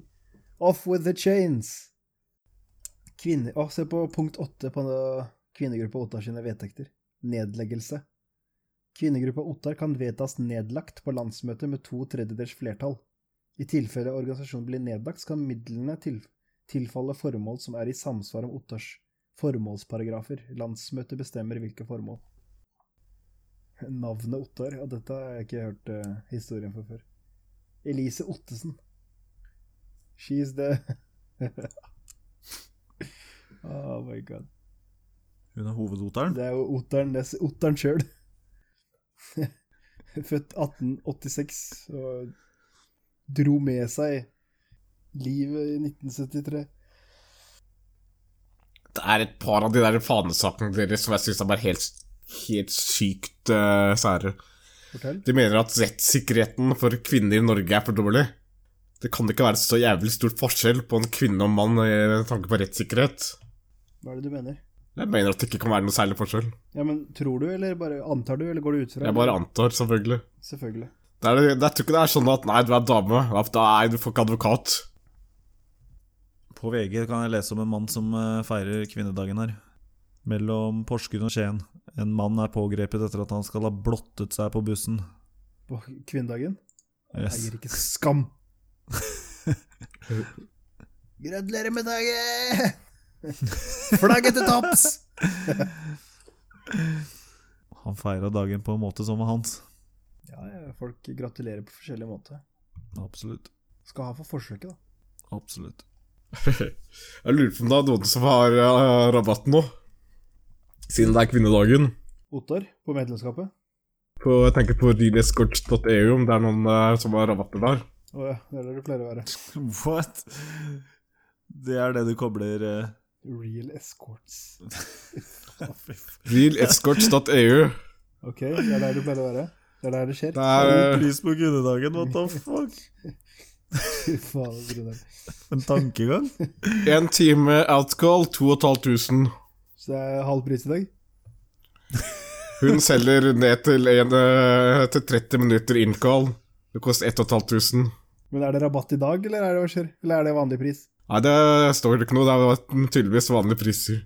[SPEAKER 2] Off with the chains! Kvinne... Å, se på punkt åtte på den- kvinnegruppa Ottar sine vedtekter. Nedleggelse. Kvinnegruppa Ottar kan vedtas nedlagt på landsmøtet med to tredjedels flertall. I tilfelle organisasjonen blir nedlagt, skal midlene til tilfalle formål som er i samsvar med Ottars formålsparagrafer. Landsmøtet bestemmer hvilke formål. Navnet Ottar? Ja, dette har jeg ikke hørt eh, historien for før. Elise Ottesen. She's the Oh my god.
[SPEAKER 1] Hun er hovedoteren.
[SPEAKER 2] Det er jo Otteren, det er Otteren sjøl. Født 1886 og dro med seg livet i 1973.
[SPEAKER 3] Det er et par av de der fanesakene deres som jeg syns er bare helt, helt sykt eh, sære.
[SPEAKER 2] Fortell.
[SPEAKER 3] De mener at rettssikkerheten for kvinner i Norge er for dårlig. Det kan ikke være så jævlig stor forskjell på en kvinne og en mann eh, med tanke på rettssikkerhet.
[SPEAKER 2] Hva er det du mener?
[SPEAKER 3] Jeg mener at det ikke kan være noe særlig forskjell.
[SPEAKER 2] Ja, men tror du, eller bare antar du, eller går du ut fra?
[SPEAKER 3] Jeg bare antar, selvfølgelig.
[SPEAKER 2] Selvfølgelig.
[SPEAKER 3] Det er, jeg tror ikke det er sånn at nei, du er dame, ja, da er du får ikke advokat.
[SPEAKER 1] På VG kan jeg lese om en mann som eh, feirer kvinnedagen her. Mellom Porsgrunn og Skien. En mann er pågrepet etter at han skal ha blottet seg på bussen.
[SPEAKER 2] På kvinnedagen?
[SPEAKER 1] Yes.
[SPEAKER 2] Eier ikke skam. Gratulerer med dagen! Flagget til topps!
[SPEAKER 1] Han feira dagen på en måte som var hans.
[SPEAKER 2] Ja, ja, folk gratulerer på forskjellige måter.
[SPEAKER 1] Absolutt.
[SPEAKER 2] Skal ha for forsøket, da.
[SPEAKER 1] Absolutt.
[SPEAKER 3] Jeg lurer på om det er noen som har eh, rabatt nå, siden det er kvinnedagen.
[SPEAKER 2] Ottar på medlemskapet.
[SPEAKER 3] På, jeg tenker på renescorch.eu, E om det er noen eh, som har rabatter der.
[SPEAKER 2] Å ja, det er der du pleier å være.
[SPEAKER 1] What? Det er det du kobler eh.
[SPEAKER 2] Real escorts.
[SPEAKER 3] Reelscorch.eu.
[SPEAKER 2] Ok, det er der du pleier å være. Det er der det skjer.
[SPEAKER 3] Det er eh,
[SPEAKER 1] Pris på kvinnedagen, what the fuck?
[SPEAKER 2] Fy faen, Brunner.
[SPEAKER 1] En tankegang?
[SPEAKER 3] en time outcall, 2500.
[SPEAKER 2] Så det er halv pris i dag?
[SPEAKER 3] Hun selger ned til, en, eh, til 30 minutter innkall. Det koster 1500.
[SPEAKER 2] Men er det rabatt i dag, eller er det hva skjer? Eller er det vanlig pris?
[SPEAKER 3] Nei, det står ikke noe. Det er tydeligvis vanlige priser.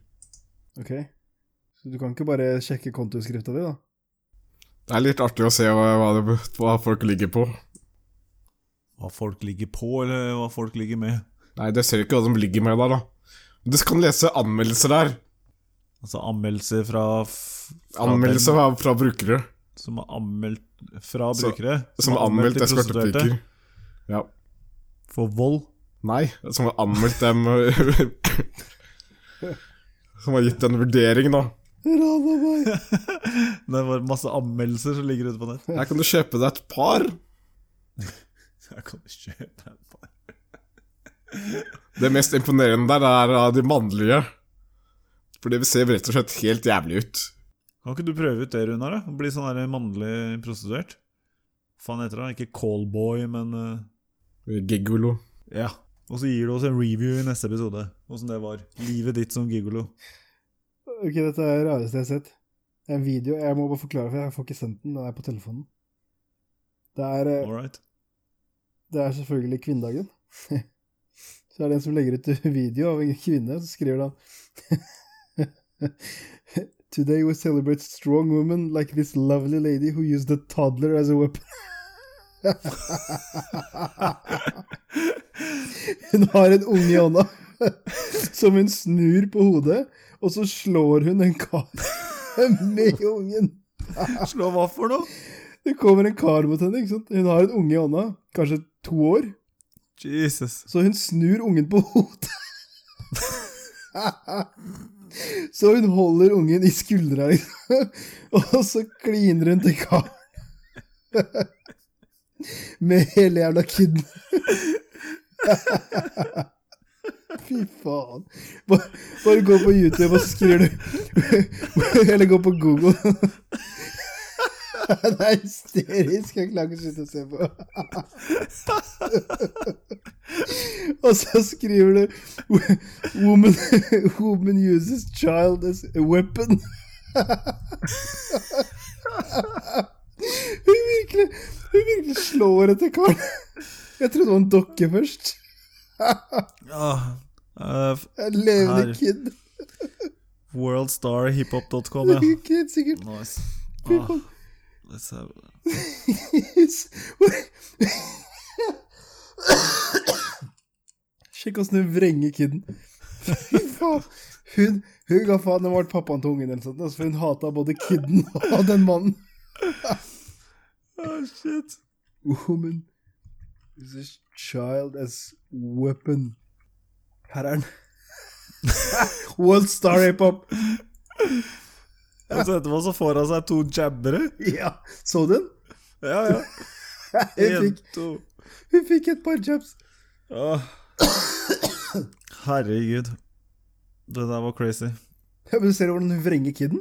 [SPEAKER 2] Ok. Så du kan ikke bare sjekke kontoskrifta di, da?
[SPEAKER 3] Det er litt artig å se hva, hva, det, hva folk ligger på.
[SPEAKER 1] Hva folk ligger på, eller hva folk ligger med.
[SPEAKER 3] Nei, det ser ikke hva de ligger med der, da. Men Du kan lese anmeldelser der.
[SPEAKER 1] Altså anmeldelser fra, f- fra
[SPEAKER 3] Anmeldelser
[SPEAKER 1] dem
[SPEAKER 3] fra, fra brukere
[SPEAKER 1] som er anmeldt fra
[SPEAKER 3] Så-
[SPEAKER 1] brukere.
[SPEAKER 3] som har anmeldt
[SPEAKER 1] til
[SPEAKER 3] eskortepiker.
[SPEAKER 1] prostituerte
[SPEAKER 3] Ja.
[SPEAKER 1] For vold.
[SPEAKER 3] Nei, som har anmeldt dem Som har gitt en vurdering, da.
[SPEAKER 2] Rana meg!
[SPEAKER 1] Det var masse anmeldelser som ligger ute på nett.
[SPEAKER 3] Her kan du kjøpe deg et par.
[SPEAKER 1] Jeg kan kjøpe en par.
[SPEAKER 3] Det mest imponerende der er av de mannlige. For det ser rett og slett helt jævlig ut.
[SPEAKER 1] Kan ikke du prøve ut det, Runar? da? Bli sånn der mannlig prostituert? Faen heter det? Ikke callboy, men eh,
[SPEAKER 3] Gigolo.
[SPEAKER 1] Ja. Og så gir du oss en review i neste episode, åssen det var. Livet ditt som gigolo.
[SPEAKER 2] Ok, dette er det rareste jeg har sett. Det er en video, jeg må bare forklare, for jeg får ikke sendt den, den er på telefonen. Det er, eh,
[SPEAKER 1] All right.
[SPEAKER 2] det er selvfølgelig kvinnedagen. Så er det en som legger ut video av en kvinne, så skriver han Today we celebrate strong women like this lovely lady who used a toddler as a weapon. hun har en unge i hånda som hun snur på hodet, og så slår hun en kar med ungen.
[SPEAKER 1] Slå hva for noe?
[SPEAKER 2] Det kommer en kar mot henne. ikke sant? Hun har en unge i hånda, kanskje to år.
[SPEAKER 1] Jesus.
[SPEAKER 2] Så hun snur ungen på hodet. så hun holder ungen i skuldra, liksom. og så kliner hun til karen. Med hele jævla kiden. Fy faen. Bare, bare gå på YouTube, og så skriver du Eller gå på Google. Det er hysterisk. Jeg klarer ikke å slutte å se på. Og så skriver du Woman, woman uses child as a weapon. Hun virkelig, hun virkelig slår etter karen. Jeg trodde det var en dokke først.
[SPEAKER 1] Ah, eh, f-
[SPEAKER 2] En levende
[SPEAKER 1] Her.
[SPEAKER 2] kid.
[SPEAKER 1] Worldstarhiphop.com, ja.
[SPEAKER 2] Ikke helt sikkert.
[SPEAKER 1] Nice.
[SPEAKER 2] Fy
[SPEAKER 1] Ah,
[SPEAKER 2] faen.
[SPEAKER 1] let's have-
[SPEAKER 2] Sjekk åssen hun vrenger kiden. Fy faen. Hun, hun ga faen om hun var pappaen til ungen, eller sånt, altså, for hun hata både kiden og den mannen.
[SPEAKER 1] Ah, shit.
[SPEAKER 2] Woman is a child as weapon. Her er den. World Star Hip-Hop.
[SPEAKER 1] Altså, etterpå så får han seg to jabbere.
[SPEAKER 2] Ja, så du den?
[SPEAKER 1] Ja, ja.
[SPEAKER 2] Hun
[SPEAKER 1] En,
[SPEAKER 2] fikk,
[SPEAKER 1] to. Ah.
[SPEAKER 2] hun fikk et par jabs.
[SPEAKER 1] Åh. Herregud. Det der var crazy.
[SPEAKER 2] Ja, men Du ser hvordan hun vrenger kiden?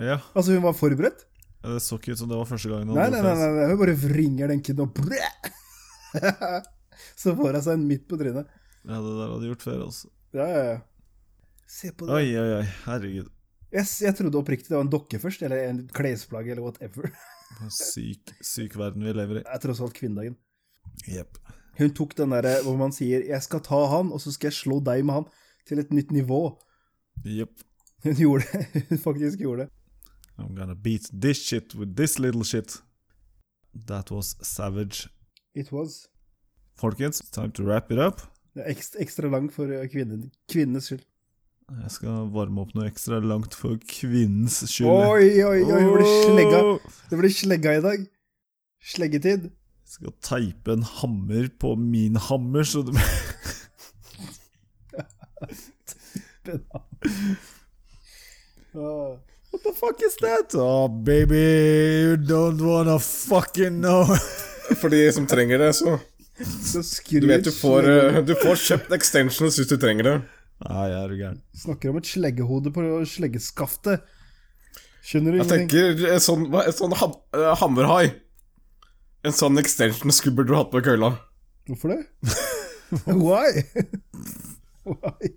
[SPEAKER 1] Ja,
[SPEAKER 2] Altså, hun var forberedt.
[SPEAKER 1] det så ikke ut som det var første gangen. han
[SPEAKER 2] Nei,
[SPEAKER 1] dro
[SPEAKER 2] nei,
[SPEAKER 1] fra
[SPEAKER 2] nei, nei, nei. hun bare vringer den kiden og bræ! Så får hun seg en midt på trynet.
[SPEAKER 1] seg. Ja, det der hadde de gjort før, altså.
[SPEAKER 2] Ja, ja, ja. Se på det.
[SPEAKER 1] Oi, oi, oi. Herregud.
[SPEAKER 2] Jeg, jeg trodde oppriktig det var en dokke først, eller en klesplagg, eller whatever.
[SPEAKER 1] For en Syk, syk verden vi lever i.
[SPEAKER 2] Det er tross alt kvinnedagen.
[SPEAKER 1] Jepp.
[SPEAKER 2] Hun tok den derre hvor man sier 'jeg skal ta han, og så skal jeg slå deg med han', til et nytt nivå.
[SPEAKER 1] Jepp.
[SPEAKER 2] Hun gjorde det. Hun faktisk gjorde det.
[SPEAKER 1] I'm gonna beat this shit with this little shit. That was savage.
[SPEAKER 2] It was.
[SPEAKER 1] Folkens, time to wrap it up.
[SPEAKER 2] Det er ekstra, ekstra lang for eh, kvinnen, kvinnenes skyld.
[SPEAKER 1] Jeg skal varme opp noe ekstra langt for kvinnens skyld.
[SPEAKER 2] Oi, oi, oi, hun ble slegga.
[SPEAKER 1] Åh!
[SPEAKER 2] Det blir slegga i dag. Sleggetid.
[SPEAKER 1] skal teipe en hammer på min hammer, så det
[SPEAKER 2] Ah.
[SPEAKER 1] What the fuck is that? Oh, baby, you don't wanna fucking know.
[SPEAKER 3] For de som trenger det, så
[SPEAKER 2] Så
[SPEAKER 3] Du vet du får,
[SPEAKER 2] slegge-
[SPEAKER 3] eh, du får kjøpt extensions hvis du trenger det.
[SPEAKER 1] Nei, jeg er du gæren.
[SPEAKER 2] Snakker om et sleggehode på sleggeskaftet. Skjønner du
[SPEAKER 3] Jeg tenker en sånn, hva- en sånn ham, eh, hammerhai. En sånn extension skulle burde du hatt på kølla.
[SPEAKER 2] Hvorfor det? Why? Why?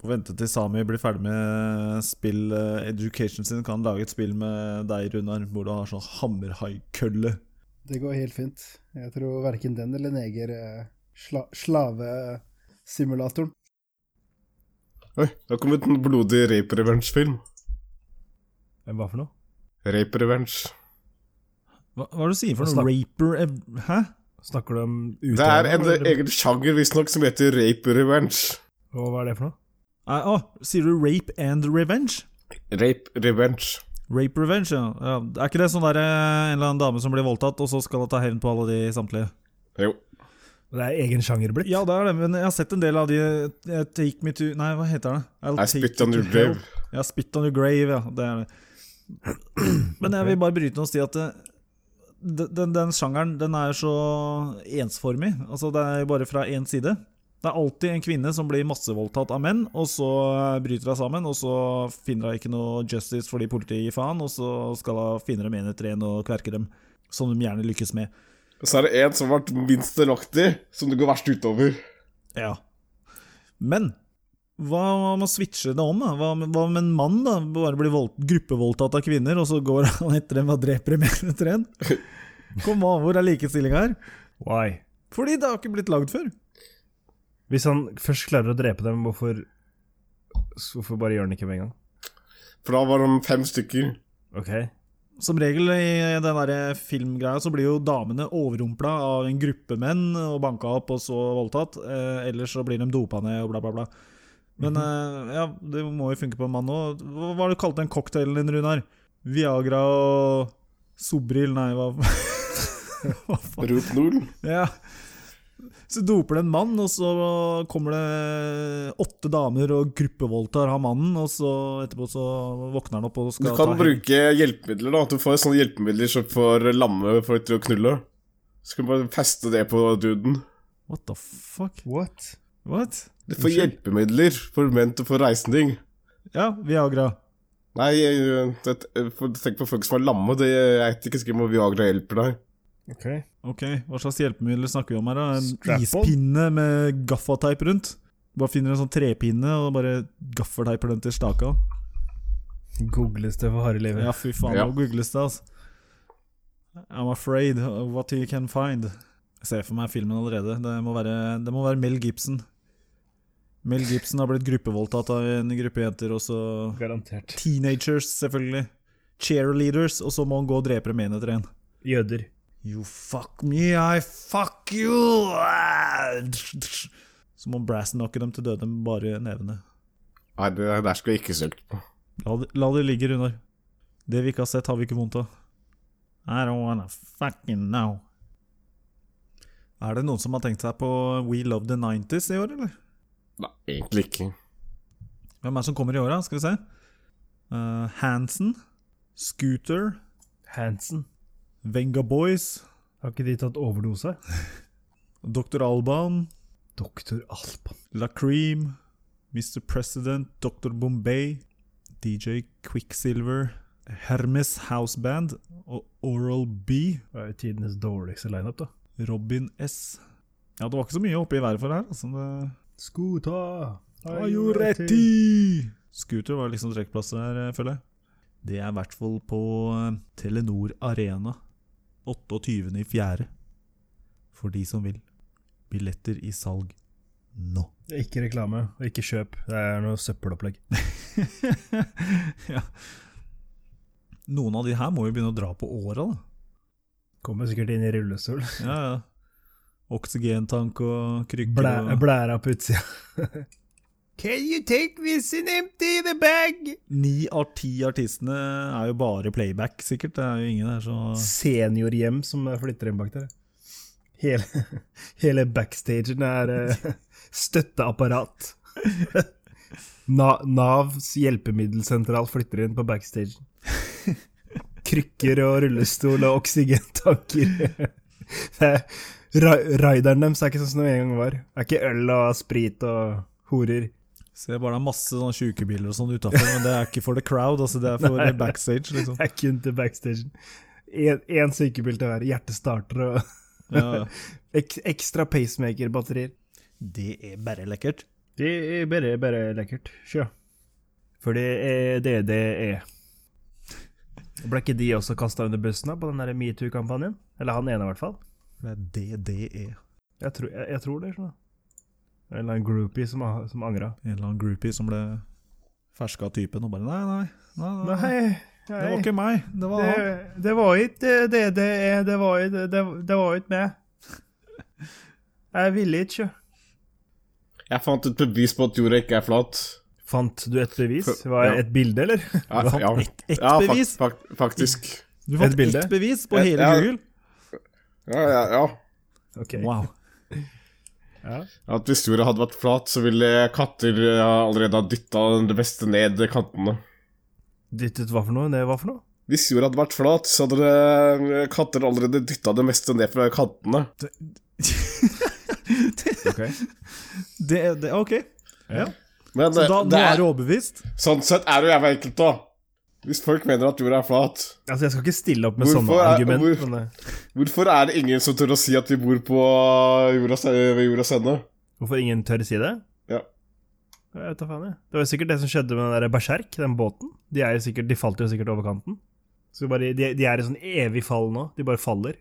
[SPEAKER 1] Får Vente til Sami blir ferdig med spill eh, education sin, kan lage et spill med deg, Runar, hvor du har sånn hammerhaikølle.
[SPEAKER 2] Det går helt fint. Jeg tror verken den eller neger eh, sla slavesimulatoren.
[SPEAKER 3] Oi, det har kommet en blodig rape revenge-film.
[SPEAKER 1] Hva for noe?
[SPEAKER 3] Rape revenge.
[SPEAKER 1] Hva, er det du sier for noe?
[SPEAKER 4] Snakk-
[SPEAKER 1] Raper ev- Hæ?
[SPEAKER 4] Snakker du om
[SPEAKER 3] Det er en
[SPEAKER 4] eller-
[SPEAKER 3] egen sjanger visstnok som heter rape revenge.
[SPEAKER 4] Og hva er det for noe?
[SPEAKER 1] Nei, Å, sier du rape and revenge?
[SPEAKER 3] Rape revenge.
[SPEAKER 1] Rape revenge, ja. ja. Er ikke det sånn der eh, en eller annen dame som blir voldtatt, og så skal hun ta hevn på alle de samtlige?
[SPEAKER 3] Jo.
[SPEAKER 4] Det er egen sjanger blitt?
[SPEAKER 1] Ja, det er det, men jeg har sett en del av de eh, Take me to Nei, hva heter det? I'll
[SPEAKER 3] I
[SPEAKER 1] take
[SPEAKER 3] spit
[SPEAKER 1] you
[SPEAKER 3] on
[SPEAKER 1] to
[SPEAKER 3] your
[SPEAKER 1] hell.
[SPEAKER 3] grave.
[SPEAKER 1] Ja, Spit on your grave, ja. Det er det. Men jeg vil bare bryte noe og si at eh, den, den, den sjangeren den er så ensformig. Altså, det er jo bare fra én side. Det er alltid en kvinne som blir massevoldtatt av menn, og så eh, bryter hun sammen, og så finner hun ikke noe justice fordi politiet gir faen, og så skal hun finne dem en etter en og kverke dem, som de gjerne lykkes med.
[SPEAKER 3] Så er det en som har vært minst delaktig, som det går verst utover.
[SPEAKER 1] Ja. Men hva med å switche det om? da? Hva, hva med en mann da? bare blir vold, gruppevoldtatt av kvinner, og så går han etter dem og dreper dem en etter en? Kom an, hvor er likestillinga her?
[SPEAKER 4] Why?
[SPEAKER 1] Fordi det har ikke blitt lagd før.
[SPEAKER 4] Hvis han først klarer å drepe dem, hvorfor så Hvorfor bare gjør han ikke med en gang?
[SPEAKER 3] For da var de fem stykker.
[SPEAKER 4] Ok.
[SPEAKER 1] Som regel i den der filmgreia så blir jo damene overrumpla av en gruppe menn og banka opp og så voldtatt. Eh, ellers så blir de dopa ned og bla, bla, bla. Men
[SPEAKER 3] Mhm.
[SPEAKER 1] eh, ja, det må jo funke på en mann òg. Hva var det du kalte den cocktailen din, Runar? Viagra og Sobril, nei, hva, hva faen?
[SPEAKER 3] Rop Nol.
[SPEAKER 1] Ja. Så doper det en mann, og så kommer det åtte damer og gruppevoldtar han mannen, og så etterpå så våkner han opp og
[SPEAKER 3] Du
[SPEAKER 1] skal
[SPEAKER 3] kan
[SPEAKER 1] ta hevn.
[SPEAKER 3] bruke hjelpemidler, da. At du får sånne hjelpemidler som får lamme folk til å knulle. Så kan du bare feste det på duden.
[SPEAKER 1] What the fuck?
[SPEAKER 5] What?
[SPEAKER 1] What?
[SPEAKER 3] Du får hjelpemidler for menn til å få reisning.
[SPEAKER 1] Ja, Viagra.
[SPEAKER 3] Nei, jeg- det, for- tenk på folk som er lamme. Det, jeg vet ikke sikkert om Viagra hjelper deg.
[SPEAKER 2] Ok.
[SPEAKER 1] Ok, hva slags hjelpemidler snakker vi om her da? En
[SPEAKER 2] Strap-on?
[SPEAKER 1] ispinne med gaffateip rundt? Du bare finner en sånn trepinne og bare gaffateiper den til staka?
[SPEAKER 2] Googles det for harde livet.
[SPEAKER 1] Ja, fy faen,
[SPEAKER 3] Ja.
[SPEAKER 1] nå googles det, altså. I'm afraid of what you can find. Jeg ser for meg filmen allerede. Det må være, det må være Mel Gibson. Mel Gibson har blitt gruppevoldtatt av en gruppe jenter, og så
[SPEAKER 2] Garantert.
[SPEAKER 1] teenagers, selvfølgelig. Cheerleaders, og så må han gå og drepe dem en etter en.
[SPEAKER 2] Jøder.
[SPEAKER 1] You fuck me, I fuck you! Så må brassnocke dem til døde med bare nevene.
[SPEAKER 3] Nei, det der skulle jeg ikke søkt på.
[SPEAKER 1] La det, la det ligge, Runar. Det vi ikke har sett, har vi ikke vondt av. I don't wanna fucking know. Er det noen som har tenkt seg på We Love the 90s i år, eller?
[SPEAKER 3] Nei, egentlig ikke.
[SPEAKER 1] Hvem er det som kommer i år, da? Skal vi se. Eh, Hansen. Scooter.
[SPEAKER 2] Hansen.
[SPEAKER 1] Venga Boys.
[SPEAKER 2] Har ikke de tatt overdose?
[SPEAKER 1] Dr. Alban.
[SPEAKER 2] Doktor Alban.
[SPEAKER 1] La Cream, Mr. President, Dr. Bombay, DJ Quicksilver, Hermes Houseband og Oral B,
[SPEAKER 2] Det er jo tidenes dårligste lineup, da.
[SPEAKER 1] Robin S. Ja, det var ikke så mye oppe i været for her. Altså, det
[SPEAKER 2] Skuta!
[SPEAKER 1] Ajoretti! Scooter var liksom trekkplasser her, eh, føler jeg. Det er i hvert fall på eh, Telenor Arena 28.4. For de som vil. Billetter i salg nå.
[SPEAKER 2] Det er Ikke reklame, og ikke kjøp. Det er noe søppelopplegg.
[SPEAKER 1] ja. Noen av de her må jo begynne å dra på åra, da.
[SPEAKER 2] Kommer sikkert inn i rullestol.
[SPEAKER 1] Ja, ja. Oksygentank og krykker
[SPEAKER 2] Blæ,
[SPEAKER 1] og
[SPEAKER 2] blæra på utsida. Can you take this in empty the bag?
[SPEAKER 1] Ni av ti artistene er jo bare playback, sikkert. Det er jo ingen her som
[SPEAKER 2] Seniorhjem som flytter inn bak der. Hele, hele backstagen er eh, støtteapparat. Na, Navs hjelpemiddelsentral flytter inn på backstagen. Krykker og rullestol og oksygentanker. Det er- ra- Raideren deres er ikke sånn som det en gang var. Det er ikke øl og sprit og horer.
[SPEAKER 1] Ser bare det er masse sånne sjukebiler og sånn utafor, men det er ikke for the crowd, altså. Det er for backstage, liksom.
[SPEAKER 2] Det er kun til backstagen. Én sykebil til hver. Hjertestarter og
[SPEAKER 1] Ja.
[SPEAKER 2] ek, ekstra pacemaker-batterier.
[SPEAKER 1] Det er bare lekkert.
[SPEAKER 2] Det er bare, bare lekkert. Sjø. For det er det det er. Ble ikke de også kasta under bussen da, på den der metoo-kampanjen? Eller han ene, i hvert fall.
[SPEAKER 1] Det er det det er.
[SPEAKER 2] Jeg, tror- jeg, jeg tror det. sånn da. En eller annen groupie som, har- som angra.
[SPEAKER 1] En eller annen groupie som ble ferska av typen og bare nei, nei, nei, nei, nei.
[SPEAKER 2] Nei,
[SPEAKER 1] Det var ikke meg, det var han.
[SPEAKER 2] det, det var ikke det det er. Det var ikke det, det var ikke meg. Jeg ville ikke, sjø.
[SPEAKER 3] Jeg fant et bevis på at jorda ikke er flat.
[SPEAKER 2] Fant du et bevis?
[SPEAKER 3] For-
[SPEAKER 2] Var det
[SPEAKER 3] ja.
[SPEAKER 2] et bilde, eller?
[SPEAKER 3] Ja,
[SPEAKER 1] Du fant
[SPEAKER 3] ja.
[SPEAKER 1] ett- ett
[SPEAKER 3] Ja, fak-
[SPEAKER 1] bevis?
[SPEAKER 3] fak- faktisk.
[SPEAKER 1] Du fant
[SPEAKER 2] Et bilde?
[SPEAKER 1] ett bevis på
[SPEAKER 3] Et-
[SPEAKER 1] hele
[SPEAKER 3] ja.
[SPEAKER 1] Google?
[SPEAKER 3] Ja, ja, ja.
[SPEAKER 2] Ok.
[SPEAKER 1] Wow.
[SPEAKER 3] At hvis jorda hadde vært flat, så ville katter eh, allerede ha dytta det beste ned i kantene.
[SPEAKER 2] Dyttet hva for noe? Det var for noe?
[SPEAKER 3] Hvis jorda hadde vært flat, så hadde det, katter allerede dytta det meste ned fra kantene.
[SPEAKER 1] Det, det, ok,
[SPEAKER 3] Men
[SPEAKER 1] så da,
[SPEAKER 3] eh,
[SPEAKER 1] nå
[SPEAKER 3] det
[SPEAKER 1] er
[SPEAKER 3] er,
[SPEAKER 1] du overbevist?
[SPEAKER 3] sånn sett er det jo jævla enkelt, da. Hvis folk mener at jorda er flat,
[SPEAKER 2] Altså, jeg skal ikke stille opp med
[SPEAKER 3] Hvorfor
[SPEAKER 2] sånne
[SPEAKER 3] er-
[SPEAKER 2] argument.
[SPEAKER 3] hvor-
[SPEAKER 2] men, eh,
[SPEAKER 3] hvorfor er det ingen som tør å si at vi bor på jordas, ved jordas ende?
[SPEAKER 2] hvorfor ingen tør si det?
[SPEAKER 3] Ja.
[SPEAKER 2] Jeg vet da faen, jeg. Det var jo sikkert det som skjedde med den der berserk, den båten. De, er jo sikkert, de falt jo sikkert over kanten. Så bare, de, de er i sånn evig fall nå. De bare faller.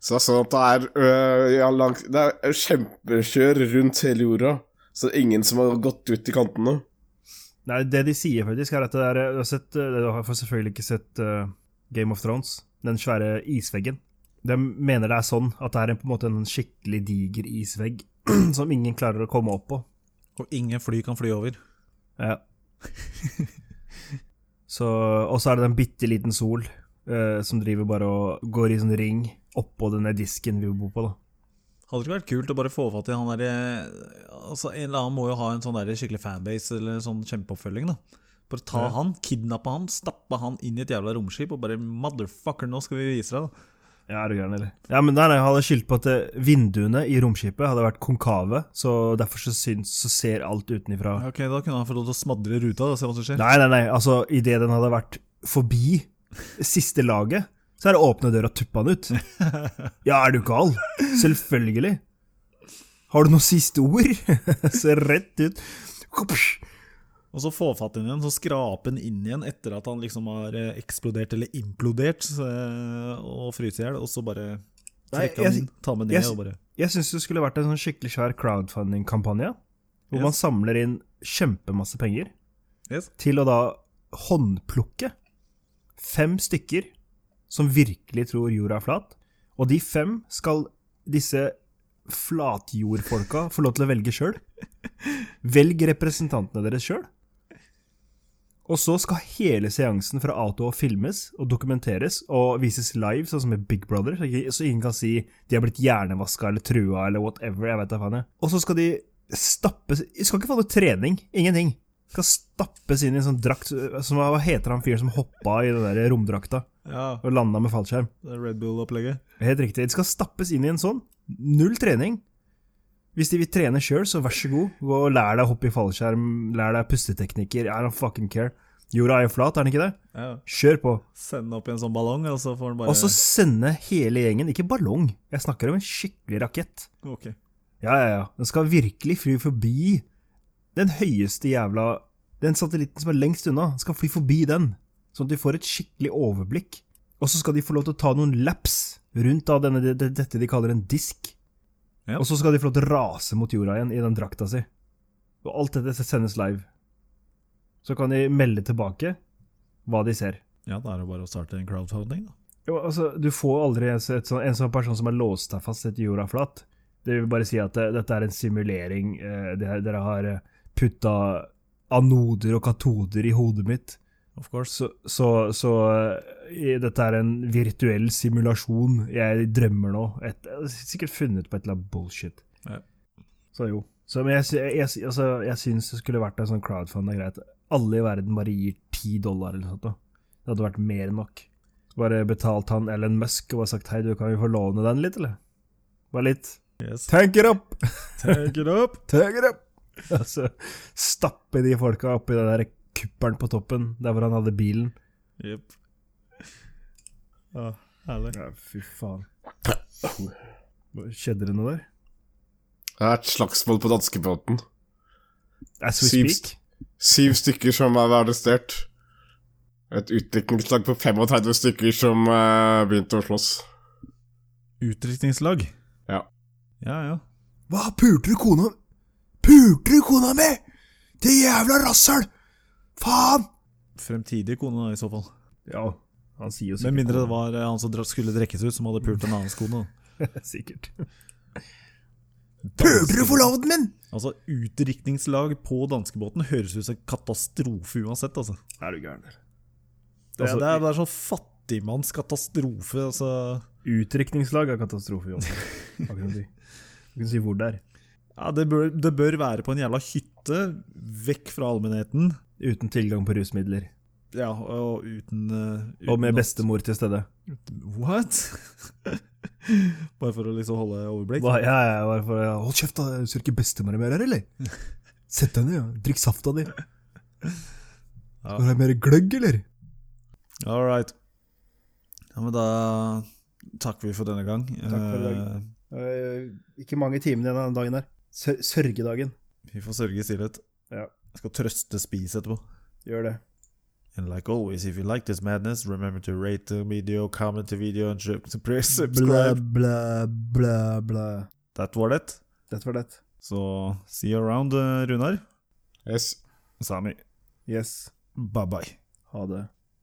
[SPEAKER 3] Så det er sånn at det er, øh, ja, langt, det er kjempekjør rundt hele jorda. Så det er ingen som har gått ut i kantene.
[SPEAKER 2] Nei, det de sier faktisk, er at det er Du har, sett, eh, du har selvfølgelig ikke sett eh, Game of Thrones, den svære isveggen. De mener det er sånn, at det er en, på en måte en skikkelig diger isvegg som ingen klarer å komme opp på.
[SPEAKER 1] Og ingen fly kan fly over.
[SPEAKER 2] Ja. så, og så er det en bitte liten sol eh, som driver bare og går i sånn ring oppå denne disken vi bor på, da.
[SPEAKER 1] Hadde det ikke vært kult å bare få fatt i han derre altså, En eller annen må jo ha en sånn der skikkelig fanbase eller sånn kjempeoppfølging, da. Bare ta han, kidnappe han, stappe han inn i et jævla romskip og bare Motherfucker, nå skal vi vise deg, da.
[SPEAKER 2] Ja, er du gæren, eller? Ja, men der hadde jeg skyldt på at eh, vinduene i romskipet hadde vært konkave, så derfor så, syns, så ser alt utenifra.
[SPEAKER 1] Ja, Ok, Da kunne han fått lov til å smadre ruta og se hva som skjer.
[SPEAKER 2] Nei, nei, nei, altså, idet den hadde vært forbi siste laget, så er det åpne døra og tuppa den ut. Ja, er du gal? Selvfølgelig. Har du noen siste ord? Ser rett ut.
[SPEAKER 1] Og så få fatt i den igjen, så skrape den inn igjen etter at han liksom har eh, eksplodert eller implodert eh, og fryst i hjel, og så bare
[SPEAKER 2] Nei,
[SPEAKER 1] trekke han
[SPEAKER 2] jeg-
[SPEAKER 1] inn, ta med
[SPEAKER 2] jeg-
[SPEAKER 1] ned og bare
[SPEAKER 2] Jeg syns det skulle vært en sånn skikkelig svær crowdfunding-kampanje, hvor man samler inn kjempemasse penger.
[SPEAKER 1] Yes.
[SPEAKER 2] til å da håndplukke fem stykker som virkelig tror jorda er flat. Og de fem skal disse flatjordfolka få lov til å velge sjøl. Velg representantene deres sjøl. Og så skal hele seansen fra A til Å filmes og dokumenteres og vises live, sånn som i Big Brother, så ikke- så ingen kan si de har blitt hjernevaska eller trua eller whatever. jeg vet da faen jeg. Og så skal de stappes De skal ikke få noe trening. Ingenting. Skal stappes inn i en sånn drakt som, Hva heter han fyren som hoppa i den der romdrakta
[SPEAKER 1] Ja,
[SPEAKER 2] og landa med fallskjerm?
[SPEAKER 1] det er Red Bull-opplegget.
[SPEAKER 2] Helt riktig. De skal stappes inn i en sånn. Null trening. Hvis de vil trene sjøl, så vær så god. Gå og lær deg å hoppe i fallskjerm, lær deg pusteteknikker. I don't fucking care. Jorda er jo flat, er den ikke det?
[SPEAKER 1] Ja.
[SPEAKER 2] Kjør på.
[SPEAKER 1] Sende opp i en sånn ballong, og så får han bare
[SPEAKER 2] Og så sende hele gjengen, ikke ballong, jeg snakker om en skikkelig rakett.
[SPEAKER 1] Ok.
[SPEAKER 2] Ja, ja, ja. Den skal virkelig fly forbi den høyeste jævla Den satellitten som er lengst unna, skal fly forbi den. Sånn at de får et skikkelig overblikk. Og så skal de få lov til å ta noen laps rundt da denne, det- det- dette de kaller en disk.
[SPEAKER 1] Ja.
[SPEAKER 2] Og så skal de få lov til å rase mot jorda igjen i den drakta si. Og alt dette sendes live. Så kan de melde tilbake hva de ser.
[SPEAKER 1] Ja, da er det bare å starte en crowdfunding, da.
[SPEAKER 2] Jo, altså, du får aldri et, et, sånn- en sånn person som er låst deg fast etter jorda flat. Det vil bare si at eh, dette er en simulering. eh, det, er- dere har eh, putta anoder og katoder i hodet mitt.
[SPEAKER 1] Of course.
[SPEAKER 2] Så, så, så eh, i- dette er en virtuell simulasjon. Jeg drømmer nå. Et, eh, sikkert funnet på et eller annet bullshit.
[SPEAKER 1] Ja.
[SPEAKER 2] Så jo. Så, men jeg, sy- jeg, sy- altså, jeg syns det skulle vært en sånn crowdfund. Det er greit. Alle i verden bare gir ti dollar eller noe sånt. da. Det hadde vært mer enn nok. Så bare betalt han Ellen Musk og bare sagt hei, du kan jo få låne den litt, eller? Bare litt.
[SPEAKER 1] Yes.
[SPEAKER 2] Tank it up!
[SPEAKER 1] Take it up!
[SPEAKER 2] Tank it up! Altså, stappe de folka oppi den der kuppelen på toppen, der hvor han hadde bilen.
[SPEAKER 1] Jepp. Ja, herlig.
[SPEAKER 2] Ja, fy faen. Skjedde det noe der?
[SPEAKER 3] Det er et slagsmål på danskebåten.
[SPEAKER 2] As we
[SPEAKER 3] Syv-
[SPEAKER 2] speak?
[SPEAKER 3] Syv stykker som er arrestert. Et utdrikningslag på 35 stykker som eh, begynte å slåss.
[SPEAKER 1] Utdrikningslag.
[SPEAKER 3] Ja.
[SPEAKER 1] Ja, ja.
[SPEAKER 2] Hva, pulte du kona Pulte du kona mi?! Det jævla rasshøl! Faen!
[SPEAKER 1] Fremtidig kone, da, i så fall.
[SPEAKER 2] Ja, han sier jo sikkert
[SPEAKER 1] Med mindre det var eh, han som dra- skulle drekkes ut, som hadde pult en annens kone. da.
[SPEAKER 2] Sikkert.
[SPEAKER 1] forloveden min?! Altså, utdrikningslag på danskebåten høres ut som en katastrofe uansett, altså.
[SPEAKER 2] Er du gæren, eller?
[SPEAKER 1] Det,
[SPEAKER 2] Altså,
[SPEAKER 1] det, er, det er sånn fattigmannskatastrofe, altså.
[SPEAKER 2] Utdrikningslag er katastrofe, Jon. Hva kan du si? Du kan si hvor det er.
[SPEAKER 1] Ja, det bør, det bør være på en jævla hytte, vekk fra allmennheten.
[SPEAKER 2] Uten tilgang på rusmidler.
[SPEAKER 1] Ja, og uten, eh, uten
[SPEAKER 2] Og med
[SPEAKER 1] at-
[SPEAKER 2] bestemor til stede.
[SPEAKER 1] What? Bare for å liksom holde overblikk?
[SPEAKER 2] Hva, ja, ja, bare for, å- Hold kjeft, da! Ser du ikke bestemora mer her, eller? Sett deg ned, ja. drikk safta di. Skal du ha mer gløgg, eller?
[SPEAKER 1] All right. Ja, men da takker vi for denne gang.
[SPEAKER 6] for i dag.
[SPEAKER 1] Eh,
[SPEAKER 6] Eh, ikke mange timene igjen av den dagen her. Sør sørgedagen.
[SPEAKER 1] vi får sørge i stillhet.
[SPEAKER 6] Ja.
[SPEAKER 1] Jeg skal trøste spis etterpå.
[SPEAKER 6] Gjør det.
[SPEAKER 1] And like always, if you like this madness, remember to rate the video, comment the video, and su- press subscribe.
[SPEAKER 6] blæ, blæ, blæ.
[SPEAKER 1] That was it.
[SPEAKER 6] Dette var det.
[SPEAKER 1] Så see you around, eh, Runar.
[SPEAKER 3] Yes.
[SPEAKER 1] Sami.
[SPEAKER 6] Yes.
[SPEAKER 1] Bye-bye.
[SPEAKER 6] Ha det.